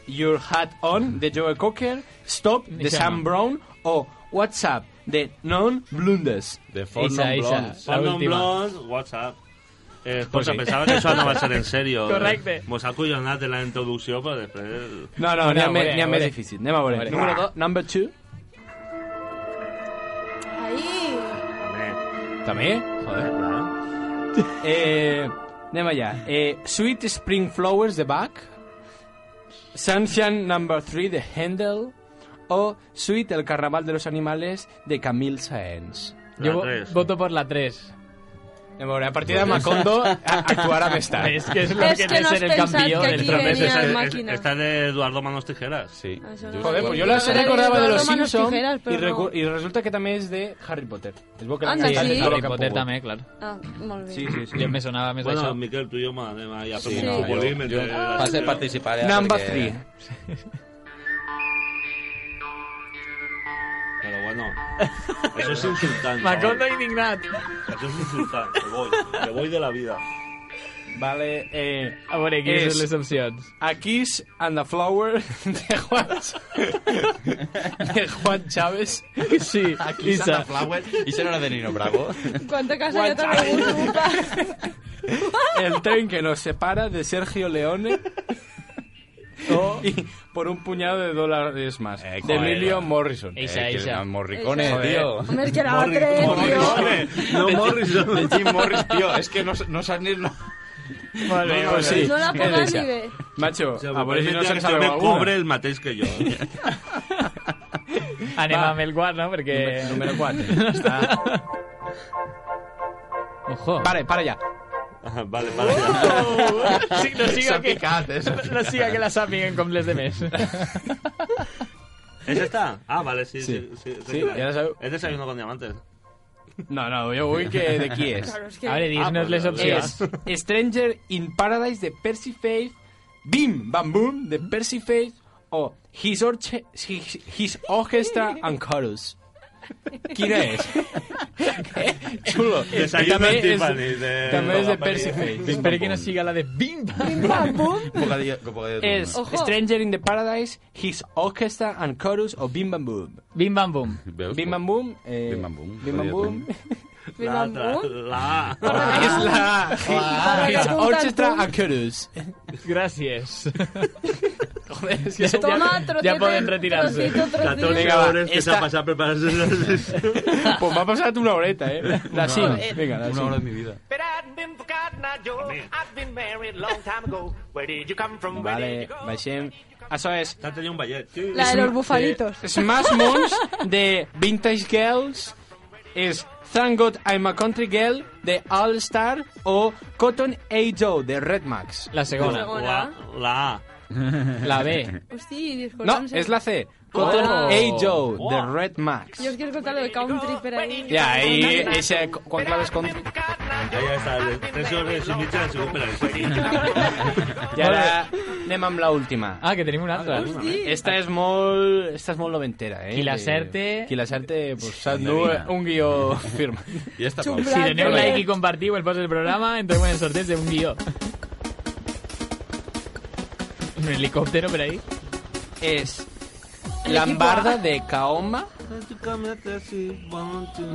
Your Hat On, de Joe Cocker, Stop, de Esa Sam no. Brown, o What's Up, de Non Blundes. de Fort Isa, Non Ah, Isa. Blondes. La Fandom última. Blondes, WhatsApp. Eh, escolta, pensava que això no va ser en serio. Correcte. Mos ha collonat de la pues introducció, però després... No, no, n'hi ha, Bueno, me- bueno, n'hi ha més bueno. difícil. Anem a veure. Bueno. Número 2, number 2. Ai! Home, També? Joder. Eh, anem allà. Eh, Sweet Spring Flowers de Bach, Sunshine Number 3 de Handel o Sweet El Carnaval de los Animales de Camille Saenz. La Yo vo- tres. voto por la 3. Veure, a partir de *laughs* Macondo a- actuarà més tard. És que és lo És que que no has el pensat campió que del aquí tropez. venia Esta- el màquina. Esta de Eduardo Manos Tijeras. Sí. Això no Joder, pues yo Pero las era recordaba de Eduardo los Manos Simpsons Tijeras, y, pero no. recu- y resulta que también es de Harry Potter. Es bo que la Anda, canción sí. es de Harry Potter Potter. també, clar. Ah, molt bé. Jo Mm. em sonava més Bueno, això. Miquel, tú y yo, madre mía, ya somos un Sí, no, futbolín yo- entre yo las- pasé a participar ya Number porque- three. Pero bueno, eso es insultante. *laughs* Macondo ¿no? indignat. Eso es insultante. Me voy, me voy de la vida. Vale, eh, A veure, quines És- són les opcions? A Kiss and the Flower *laughs* de Juan, de Juan Chávez. Sí, Aquí Santa *laughs* Flower y se no era de Nino Bravo. Quanta casa jo també vull ocupar. El tren que nos separa de Sergio Leone. Y por un puñado de dólares más. Eh, de joder. Emilio Morrison. Eh, Eixa, que eixa. eran *laughs* Morricones, Eixa. tío. Home, és que era la tres, tio. No Morrison. De Jim Morris, *laughs* tío. Es que no, no sabes ni... No. Vale, No, no, pues sí. No la es posas esa. ni bé. Macho, O sea, a por me eso no parece se que sabe me alguna. cobre el matéis que yo. ¿eh? Anem Va. amb el guard, no? Perquè... Eh, Número 4. Ojo. Vale, para ya. Ajá, vale, vale. ya. Sí, no Se siga ha que... picat, eh? *laughs* No siga que la sàpiguen com les de *laughs* més. ¿Es esta? Ah, vale, sí, sí. sí, sí, Sí, ya la sabes. Es desayuno con diamantes. *laughs* No, no, yo voy que de quién es. Claro, és que... A veure, Ah, dis-nos les pues, opcions. es Stranger in Paradise de Percy Faith, Bim Bam Boom de Percy Faith o His, Orche- His, His Orchestra and Chorus. ¿Quién es? Eh, Chulo. Desayuno eh. També en és- Tiffany, de- també és de la peli. Percy Faith. Espero que no siga la de Bing Bang. Un bocadillo, un bocadillo de *laughs* Es Ojo. Stranger in the Paradise, His Orchestra and Chorus o Bim Bam Boom. Bim Bam Boom. Veus? Bim Bam Boom. eh, Bim Bam Boom, Bim Bam jodido, Boom. La, Bim, bam, otra, bum. la, *laughs* Es la His Bim, bam, Orchestra bum. and Chorus. Gràcies. Joder, és que Toma, ja, ja trocete, poden retirar-se. trocito, trocito. 14 Venga, va, horas que se esta- ha pasado prepararse. Pues va a pasar una horeta, ¿eh? La 5. Venga, la Una 5. hora de mi vida. Vale, baixem. Això és Esta tenía un ballet. Sí. La de los bufalitos. Smash Mons de Vintage Girls, és Thank God I'm a Country Girl de All Star o Cotton A. Joe de Red Max. La segona. La, la A. La B. Hosti, No, disculpa'm. és la C. Cotton Oh. A. Joe de Red Max. Jo és que he escoltat el country per ahí. Ja, ahí, eixa, cu- quan claves contra... Ahí está. el- Tres horas y mitja se supera I ara anem amb l'última. eh. Ah, que tenim una altra. Esta és molt... Esta és molt noventera, eh? Qui l'acerte- Qui l'acerte, pues, s'endú Endevina. un guió *laughs* firma. Y esta Chum. pausa. Si doneu like i compartiu el post del programa, entreu en el sorteig d'un guió. Un helicòptero per ahí. és Lambarda de Kaoma,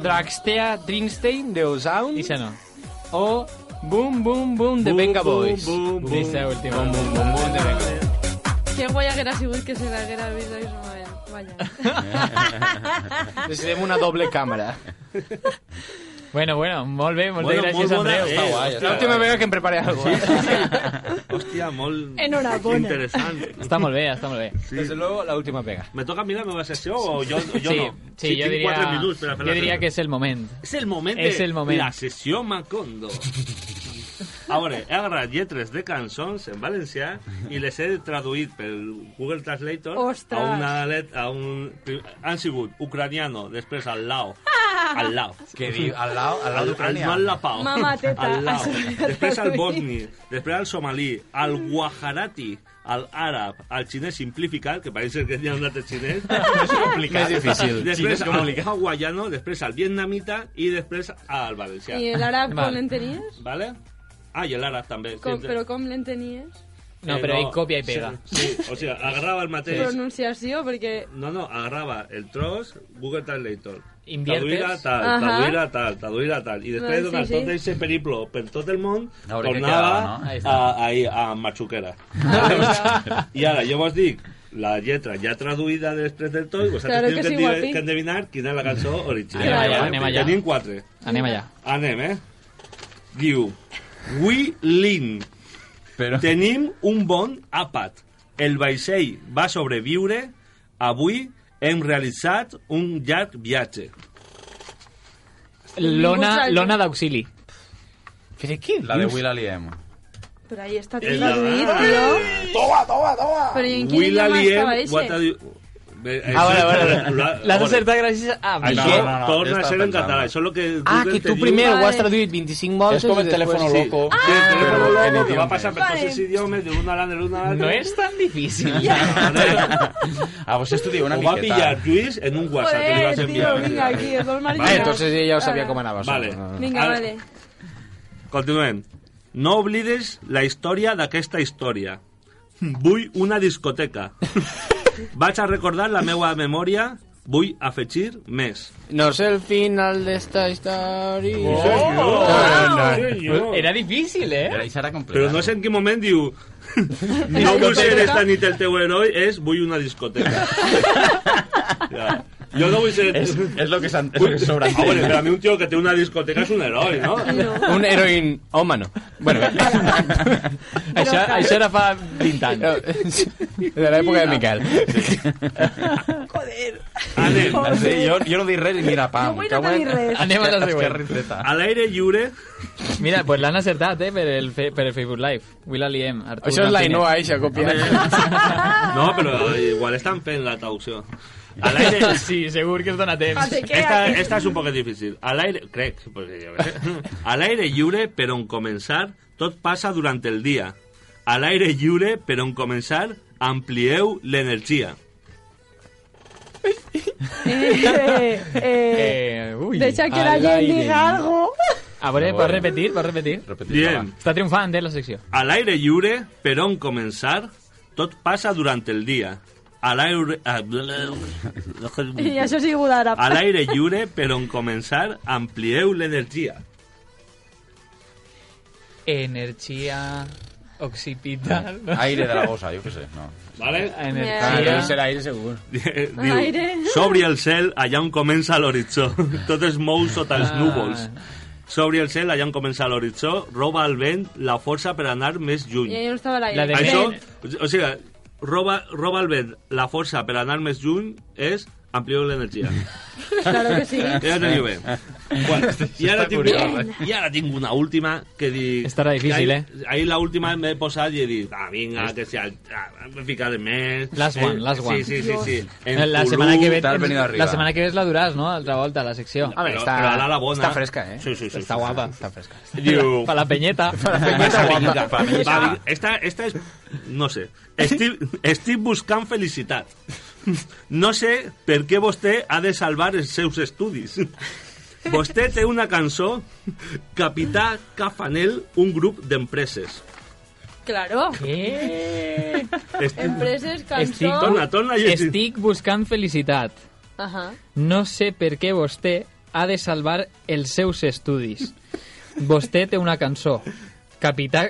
Draxtea Drinstein de Ozound I això no. o Boom Boom Boom de Venga Boys. Boom, boom, boom. Deixa última. Bum, bum, de Venga. Que guai haguera sigut que se l'haguera vist en aquell moment. Vaja. Ah. Necessitem una doble càmera. Bueno, bueno, molt bé, moltes Bueno, gràcies, molt bona, Andreu. eh? L'última vegada que em preparé alguna cosa. *laughs* Hostia, mol. Enhorabona. *laughs* Interesante. Està molt bé, està molt bé. Desde luego, la última pega. ¿Me toca a mí la nueva sesión o yo, o yo sí, no? sí, Si yo tengo diría, cuatro minutos para hacer yo la diría sesión. que es el momento. Es el momento. És el moment. La sessió *laughs* Macondo. A veure, he agarrat lletres de cançons en valencià i les he traduït pel Google Translator Ostres. a una let, a un... Han sigut ucraniano, després al lao. Al lao. Que diu, al lado, al lado Al, de al Ucrania. Joan Lapao. Mama teta, Al lao. això l'he traduït. Després al bosni. Després al somalí. Al guajarati. Al àrab. Al xinès simplificat, que pareix que hi ha un altre *laughs* xinès. És complicat. Més difícil. Després al hawaiano, després al vietnamita i després al valencià. I l'àrab Val. com l'entenies? ¿Vale? Ah, y el Ara también. Com, siempre. però com l'entenies? No, Eh, pero hay copia y pega. Sí, sí, o sea, agarraba el mateix. Pronunciació, perquè... No, no, agarraba el tros, Google Translator. Inviertes. Traduir a tal, Ajá. traduir a tal, traduir a tal. I després Ai, de donar sí, sí. tot aquest periplo per tot el món, A veure què quedava, tornava no? a, Ahí a, a, Machuquera. Ah, I ara, jo vos dic, la lletra ja traduïda després del tot, i vosaltres Claro que teniu que, sí, dir- guapi. que endevinar quina és la cançó original. Anem allà, anem allà. Tenim quatre. Anem allá. Anem, eh? Diu, We Lean. Pero... Tenim un bon àpat. El vaixell va sobreviure. Avui hem realitzat un llarg viatge. Lona, Ningú lona d'auxili. Pero, ¿qué La de dius? Will Aliem. Pero ahí está Es Tim la- David, ¡Ay! tío. ¡Toma, toma, toma! *laughs* Pero ¿y en quién Will llama estaba Alien, ese? what are you- Eh, eh, Ah, vale, vale, lo ha- vale. La has joder. acertado gracias a Ah, Això Miguel. no, no, torna jo a ser estava en català. pensant. Això és el que... Ah, Google que te tú diu. primero Vale. vas traducir 25 Es voces como el y teléfono después- sí. Ah, loco. Sí, el teléfono loco Pero en que va idiomes. passant per Ah, Vale. tots els idiomes d'un a l'altre, d'un a l'altre. No es tan difícil. *laughs* A vos estudió pues una Ho va miqueta. pillar Lluís en un WhatsApp que li vas Joder, tío, enviar. venga aquí, el dos Vale, marineros. entonces ella ya sabía Ah. cómo andaba. Vale. Vinga, Ara- *laughs* vale. Continuem. No oblides la història d'aquesta història. Vull una discoteca. Vaig a recordar la meva memòria. Vull afegir més. No sé el final de esta historia. Era difícil, Era, ¿eh? i serà complicat. Però no sé en quin moment diu... No vull ser esta nit el teu heroi, és vull una *laughs* discoteca. Ja. Jo no vull ser... És, és lo que, s'han- és lo que Ah, sobreentén. bueno, pero a mí un tío que tiene una discoteca es un heroi, ¿no? Un heroín humano. *laughs* Bueno, Això, això era fa 20 anys. de la época de Miquel. Joder. Anem. Sí, jo, jo no dic res i mira, pam. No vull no tenir res. Anem a la següent. Esquerra i dreta. Al aire lliure... Mira, pues l'han acertat, eh, per el, fe, per el Facebook Live. Will Aliem, Artur Això és la eh. Martínez. Inoa, això, copiant. No, pero igual están en la traducción. Al *laughs* aire... Sí, segur que es dona temps. Fate, què? Esta, esta es un poco difícil. Al aire... Crec, porque yo qué sé. Al aire lliure, però en començar, tot passa durant el dia. Al aire lliure, però en començar, amplieu l'energia. Eh, eh, Eh, ui. Deixa que la Al gent aire. diga algo. A veure, Bueno. pots repetir, pots repetir. Repetir, Bien. Està triomfant, eh, la secció. Al aire lliure, però en començar, tot passa durant el dia. Al aire... ah, bla, bla, bla. I això ha sigut ara. A l'aire lliure, però en començar, amplieu l'energia. *laughs* Energia occipital. va. Aire de la bossa, jo què sé. No. Vale? Ah, Energia... deu ser aire segur. Diu, Aire. s'obri el cel allà on comença l'horitzó. *laughs* Tot es mou sota Ah. els núvols. S'obri el cel allà on comença l'horitzó, roba al vent la força per anar més I lluny. Eh, ell no estava a l'aire. La de- Això, Vent. o sigui, roba, roba al vent la força per anar més lluny és amplieu l'energia. Claro que sí. Ja teniu bé. Bueno, i, ara tinc, I ara tinc una última que dic... Estarà difícil, ahir, eh? Ahir l'última m'he posat i he dit, ah, vinga, que si... Ah, em ficaré més... Eh? Last one, last one. Sí, sí, sí. sí. En La setmana que ve, t'has venido arriba. la setmana que ve és la duràs, no? Altra volta, la secció. A ver, Pero- está, pero a la la bona. está fresca, ¿eh? Sí, sí, sí, Está sí, guapa. sí, Está fresca. *laughs* Diu... Pa la peñeta. Va, *laughs* va, esta, esta es... No sé. Estic, estic buscant felicitat. No sé per què vostè ha de salvar els seus estudis. Vostè té una cançó, Capità Cafanel, un grup d'empreses. Claro. Eh, Estic... Empreses, *laughs* Estic, cançó... Torna, torna a llegir. estic buscant felicitat. Ajá. No sé per què vostè ha de salvar els seus estudis. Vostè té una cançó. Capità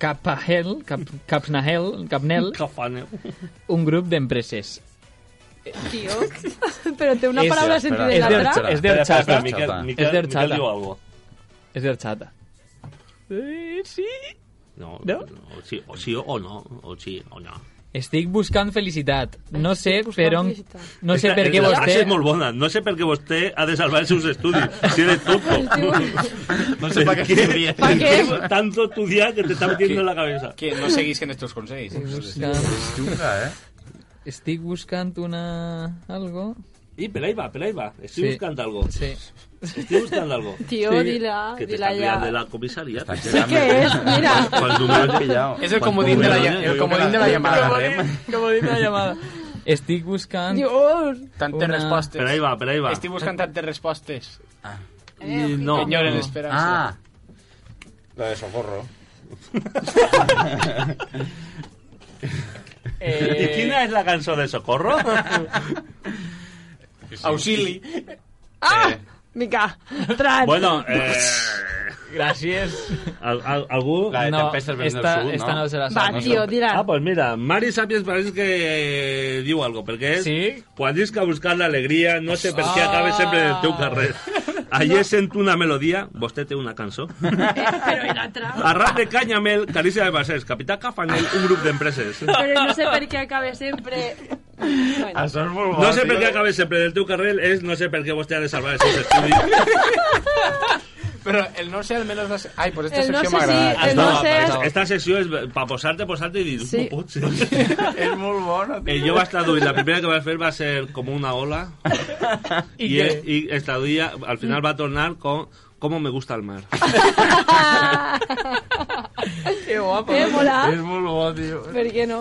Capahel, Cap, Capnahel, Capnel, Cafanel. un grup d'empreses. Tío. Pero té una És- paraula espera, sentida És en espera, l'altra. de- és de horchata. Miquel, Horchata. Miquel, És de Miquel horchata. diu algo. És de horchata. Eh, sí? No, No? o sí, o sí o no, o sí o no. Estic buscant felicitat. No sé Estic buscant per on... felicitat. No sé per què la frase vostè... és molt bona. No sé per què vostè ha de salvar els seus *laughs* estudis. Si eres tonto. No sé per què estudies. ¿Para qué? Tanto estudiar que te está metiendo en la cabeza. Que no seguís que nuestros consejos. Buscant... Xunga, eh? Estic buscant una... algo... Y pero ahí va, pero ahí va. Estoy Sí. buscando algo. Sí. Estoy buscando *laughs* algo. Tío, dila, Que te dila está ya. pillando de la comisaría. Sí que *laughs* es, *laughs* mira. Cuando me lo has pillado. Es el comodín de la, lla- el comodín de la llamada. Eh, Como dice la llamada. Estic buscant... Dios. Tantes Una- respuestas. Pero ahí va, pero ahí va. Estoy buscando tantes respuestas. Y no. Señor, en No. esperanza. Ah. Lo de socorro. eh, este- ¿Y quién es la canción de socorro? *laughs* *laughs* Auxili. Ah! Mica. Tran. bueno, eh, Gràcies. al- al- algú... La de No, Ah, Tempestes venen del esta, sud, no? esta no se la Va, sap. tío, Ah, dila. pues mira, Mari Sapiens parece que diu algo, perquè és Sí? quan dius que buscar l'alegria, no sé per què Ah. acabes sempre en el teu *laughs* carrer. Ayer sento una melodia, vostè té una cançó. Pero era atrás. Arrat de Canyamel, Carícia de Bassés, Capità Cafanel, un grup *laughs* d'empreses. Pero no sé per què acabe sempre... Bueno. Això és molt bo, No sé per tio. *laughs* què acabes sempre en el teu carrer, és no sé per què vostè ha de salvar els seus estudis. Pero el no sé al menos... no sé- Ay, pues esta El no sección sé me agrada. si- el no sé- Esta- Esta secció és per posar-te, posar-te i dir... Sí. *laughs* "No pot ser". Eh, jo vaig traduir, la primera que vaig fer va ser com una ola *laughs* i, què? es- i es traduïa, al final va tornar com ¿Cómo me gusta *laughs* el mar? Qué *laughs* guapo. Eh, mola. Es muy guapo, tío. *laughs* Per què no?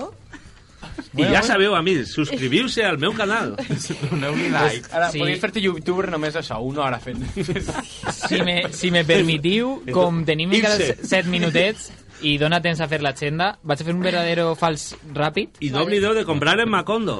I ja sabeu, amics, subscriviu-se al meu canal. Pues Doneu-li like. Ara, Sí. podéis fer-te youtuber només això, una hora *laughs* fent. Si me, si me permitiu, com tenim encara Irse. 7 minutets i dona temps a fer l'agenda, vaig a fer un verdadero fals ràpid. I no oblideu de comprar en Macondo.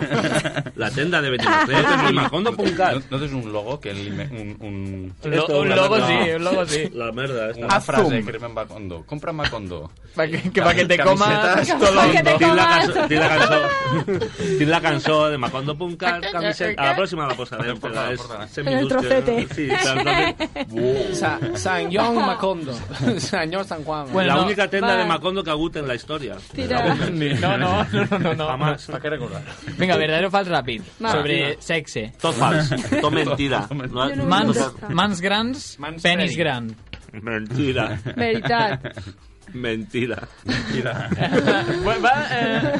La tenda de Benimaclet és macondo.cat. ¿No, no tens un logo que li me- un, un, Lo- un logo sí, un logo sí. La merda esta. una frase zoom. que rema Macondo. Compra Macondo. Pa que, que, pa que te comas... Camisetas, todo que te hondo. Tinc la, comas. cançó, tinc la *laughs* cançó, tinc la cançó de Macondo.cat, camiseta. A la pròxima la posarem, però és... En el trocete. Sí, tant, Sa, San John Macondo. *laughs* San John San Juan. Bueno, la no, única tenda va. de Macondo que ha hagut en la història. Tira. No, no, no, *laughs* no, no. Jamás. ¿Para qué recordar? Vinga, verdadero o fals ràpid. Va. Sobre sexe. Tot fals, tot *laughs* mentida. No, Jo no no, Mans, mans grans, Mans penis freddy. gran. mentida, Veritat. mentida. Va, eh...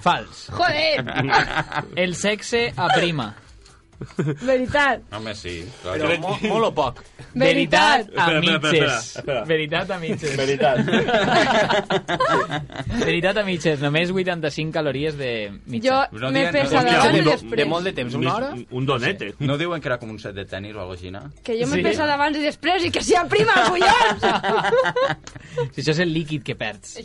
Fals. Joder, El sexe aprima. veritat. Home, sí. Clar, Pero mo, molo *laughs* poc. *laughs* Veritat. Veritat a Espera, espera, espera, mitges. espera. Veritat a mitges. *laughs* Veritat. Veritat a mitges. Només 85 calories de Jo mitja. No m'he dient- no pesat dient- abans i de- De després. molt de temps, una hora? Un donete. No diuen que era com un set de tenis o alguna cosa així, no? Que jo m'he Sí. pesat abans i després i que sia prima, collons! Si això és el líquid que perds.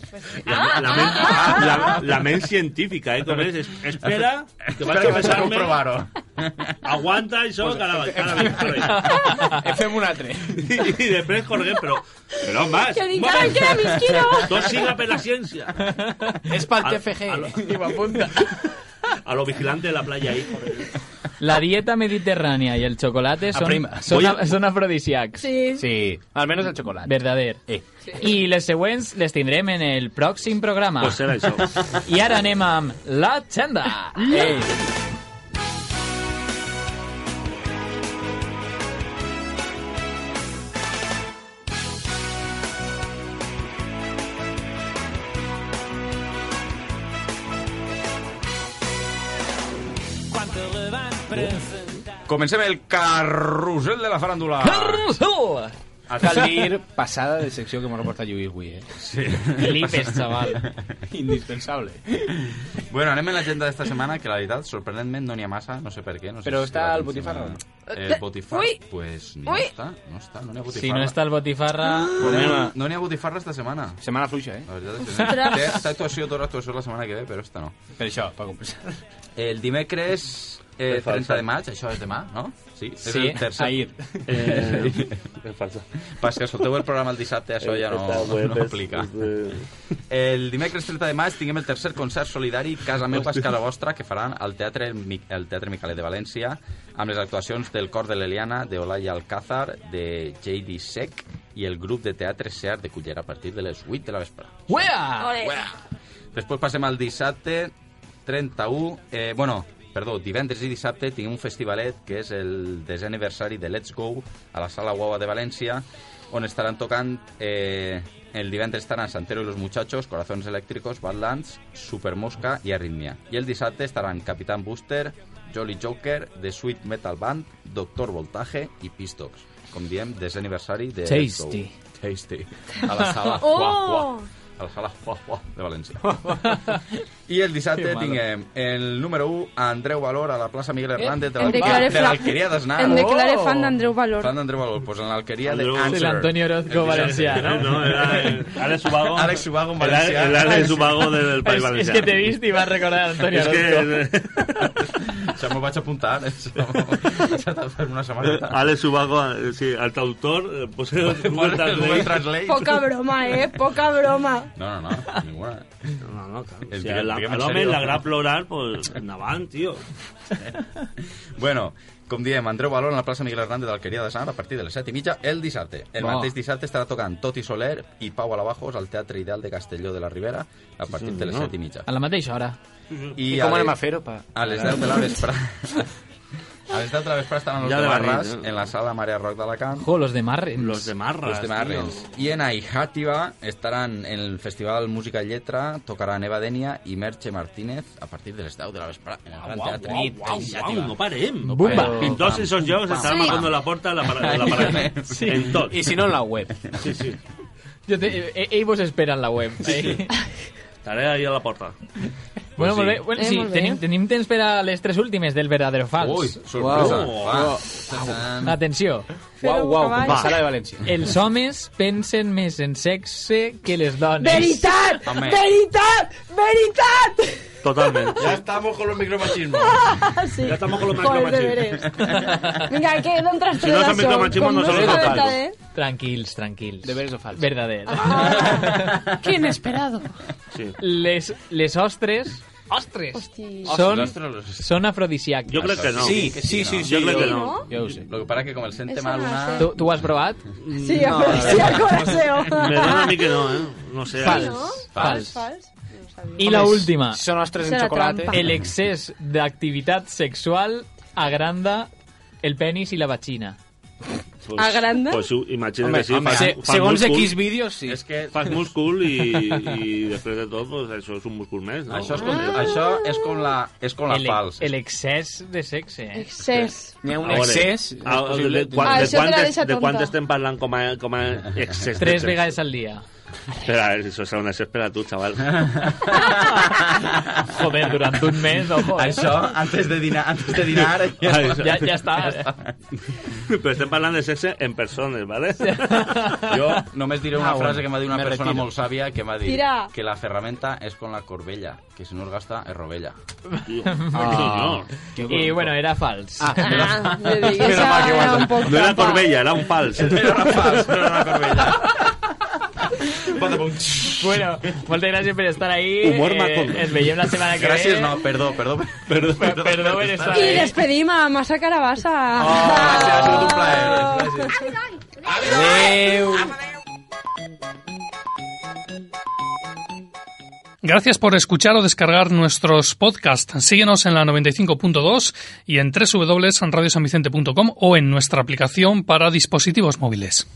La, la, ment, la, la ment científica, eh? Com és? Es- Espera, que vaig a Espera que vaig a pesar-me. comprovar-ho. Aguanta això, que ara vaig, ara vaig, ara Eh, Fem un altre. vaig. I, i després correm, però... Però más. que dic, ara em queda mig quilo! Tot siga per la ciència. És pel Al- TFG. al- I *laughs* m'apunta. A lo vigilante de la playa ahí. corre. La dieta mediterrània i el xocolate són, Aprima. són, Voy- són afrodisíacs. Sí. Sí, almenys el xocolate. Verdader. Eh. I les següents les tindrem en el pròxim programa. Pues serà això. I ara anem amb l'agenda. Eh. Comencem el carrusel de la faràndula. Cal dir passada de secció que m'ho reportat Lluís avui, *laughs* eh? Sí. Flipes, xaval. Indispensable. Bueno, anem en l'agenda d'esta setmana, que la veritat, sorprenentment, no n'hi ha massa, no sé per què. No sé Però si està la el gent botifarra, se n'ha- no? El botifarra, Ui! pues no Ui! està, no està, no n'hi ha botifarra. Si no està el botifarra... Ah. No, no n'hi ha botifarra esta setmana. Setmana fluixa, eh? La veritat és que no. Té, té actuació, tota actuació la setmana que ve, però esta no. Per això, per compensar. El dimecres eh, falsa. 30 de maig, això és demà, no? Sí, és Sí, el tercer. ahir. *laughs* Eh, és falsa. Pas que escolteu el programa el dissabte, això ja no, Esta web no és- aplica. és de- El dimecres 30 de maig tinguem el tercer concert solidari Casa meu, Pascala vostra, que faran al Teatre, Mi- al Teatre Micalet de València, amb les actuacions del Cor de l'Eliana, de Olaya Alcázar, de J.D. Sec i el grup de teatre SEAR de Cullera a partir de les 8 de la vespre. Uea! Ole. Després passem al dissabte 31... Eh, bueno, perdó, divendres i dissabte tinc un festivalet que és el desè aniversari de Let's Go a la Sala Guava de València on estaran tocant eh, el divendres estaran Santero y los Muchachos, Corazones Eléctricos, Badlands, Supermosca i Arritmia. I el dissabte estaran Capitán Booster, Jolly Joker, The Sweet Metal Band, Doctor Voltaje i Pistox. Com diem, desè aniversari de Let's Go. Tasty. Tasty. A la sala Oh! Juá, Juá. A la sala Juá, Juá de València. I el dissabte Que malo. tinguem el número 1, Andreu Valor, a la plaça Miguel Hernández de Em la- declaré de fla- l'Alqueria d'Aznar. Em declaré Oh. fan d'Andreu Valor. Fan d'Andreu Valor, pues en l'Alqueria de Andreu- Answer. És l'Antonio Orozco El *laughs* valencià, dissabte. no? No, era el Alex Ubago. Alex Ubago, El- valencià. El Alex Ubago del País És, és Valencià. que t'he vist i vas recordar Antonio És Orozco. que... Això m'ho vaig apuntar, eh? això m'ho vaig fer Eh, una setmaneta. Alex Ubago, eh, sí, el traductor, eh, pues el Google Google Translate. Translate. Poca broma, eh? Poca broma. No, no, no, ninguna. No, no, claro. El O que- sea, la, el que me el salió. home l'agrada plorar, pues, endavant, tio. Bueno, com diem, Andreu Valor en la plaça Miguel Hernández d'Alqueria de Sant a partir de les 7 i mitja el dissabte. El Va. mateix dissabte estarà tocant Toti Soler i Pau Alabajos al Teatre Ideal de Castelló de la Ribera a partir de les 7 i Ah. mitja. A la mateixa hora. I, I a com les- anem a fer-ho? Pa... *laughs* A les 10 de la vespre... A les 10 de la vesprada estaran los Ya de de la Marras nit, en la sala Marea Rock d'Alacant. Jo, los de Marrens. Los de Marras, Los de Marrens. Y en Aijátiva estarán en el Festival Música y Letra, tocarán Eva Denia i Merche Martínez a partir de les 10 de la vesprada en el Gran Uau, Teatre. uau, uau, uau, no parem. No Bumba. parem. En tots aquests jocs Pam, estaran pam. marcant la porta a la para- a la parada. Sí. En tot. I si no, en la web. Sí, sí. Jo te, eh, ells vos esperen la web. Eh? Estaré ahí a la porta. *laughs* Bueno, Pues molt sí. bé. Bueno, Eh, sí, molt bé. tenim, tenim temps per a les tres últimes del verdadero fals. Ui, sorpresa. Uau. Va. Uau. Tadam. Atenció. Uau, uau, com la sala de València. Els homes pensen més en sexe que les dones. Veritat! Veritat! Veritat! Totalment. Ya estamos con los micromachismos. Sí. Ya estamos con los Joder, de micromachismos. Vinga, que d'on tres Si no tres són això? micromachismos, Com no són se totals. trata, *laughs* eh? Tranquils, tranquils. De veres o fals. Verdader. Ah. Qué inesperado. Sí. Les, les ostres Ostres. Són... són, són afrodisíaques. Jo crec que no. Sí, Que sí, sí, no. Jo sí. crec que no. Jo ho sé. Lo que pasa que com el sente Eso mal no una... sé. Tu, tu ho has provat? Sí, No, afrodisíaco, la SEO. Me dona a mí que no, ¿eh? No sé. Fals. ¿no? Fals. Fals. I la última. Són ostres en Serà xocolata. trampa. El excés d'activitat sexual agranda el penis i la vagina. Pues- Agranda? Pues sí, imagina Home, que sí. home, fas- se- fas segons múscul. X vídeos, sí. És que... Fas múscul i, i després de tot, pues, això és un múscul més, no? Això és com, això és com la, és com la El- fals. El excés de sexe. Eh? Excés. N'hi A veure, a- a- de, quan, Ah, de, això te la quantes, deixa de tonta. quant estem parlant com a, com a excés? de Tres sexe? vegades al dia. Espera, això serà una espera tu, xaval. Joder, durant un mes, ojo. eh? Això, antes de dinar, antes de dinar ja, Ah, eso. Ja, ja està. Però estem parlant de sexe en persones, ¿vale? Jo només diré una Ah, bueno, frase que m'ha dit una me persona retiro. molt sàvia que m'ha dit Tira. que la ferramenta és com la corbella, que si no es gasta es rovella. Ah. I bueno, era fals. Ah, era- Però Era va, que era guapo. un poc No era trampa. corbella, era un fals. Era un fals, no era una Bueno, moltes gràcies per estar ahí. Humor eh, macondo. ens veiem la setmana que Gràcies, ve. no, perdó, perdó. *laughs* Perdó, perdó, perdó per estar I despedim a Massa Carabassa. Ah, Ha sigut un plaer. Adéu. Gracias por escuchar o descargar nuestros podcasts. Síguenos en la 95.2 y en www.radiosanvicente.com o en nuestra aplicación para dispositivos móviles.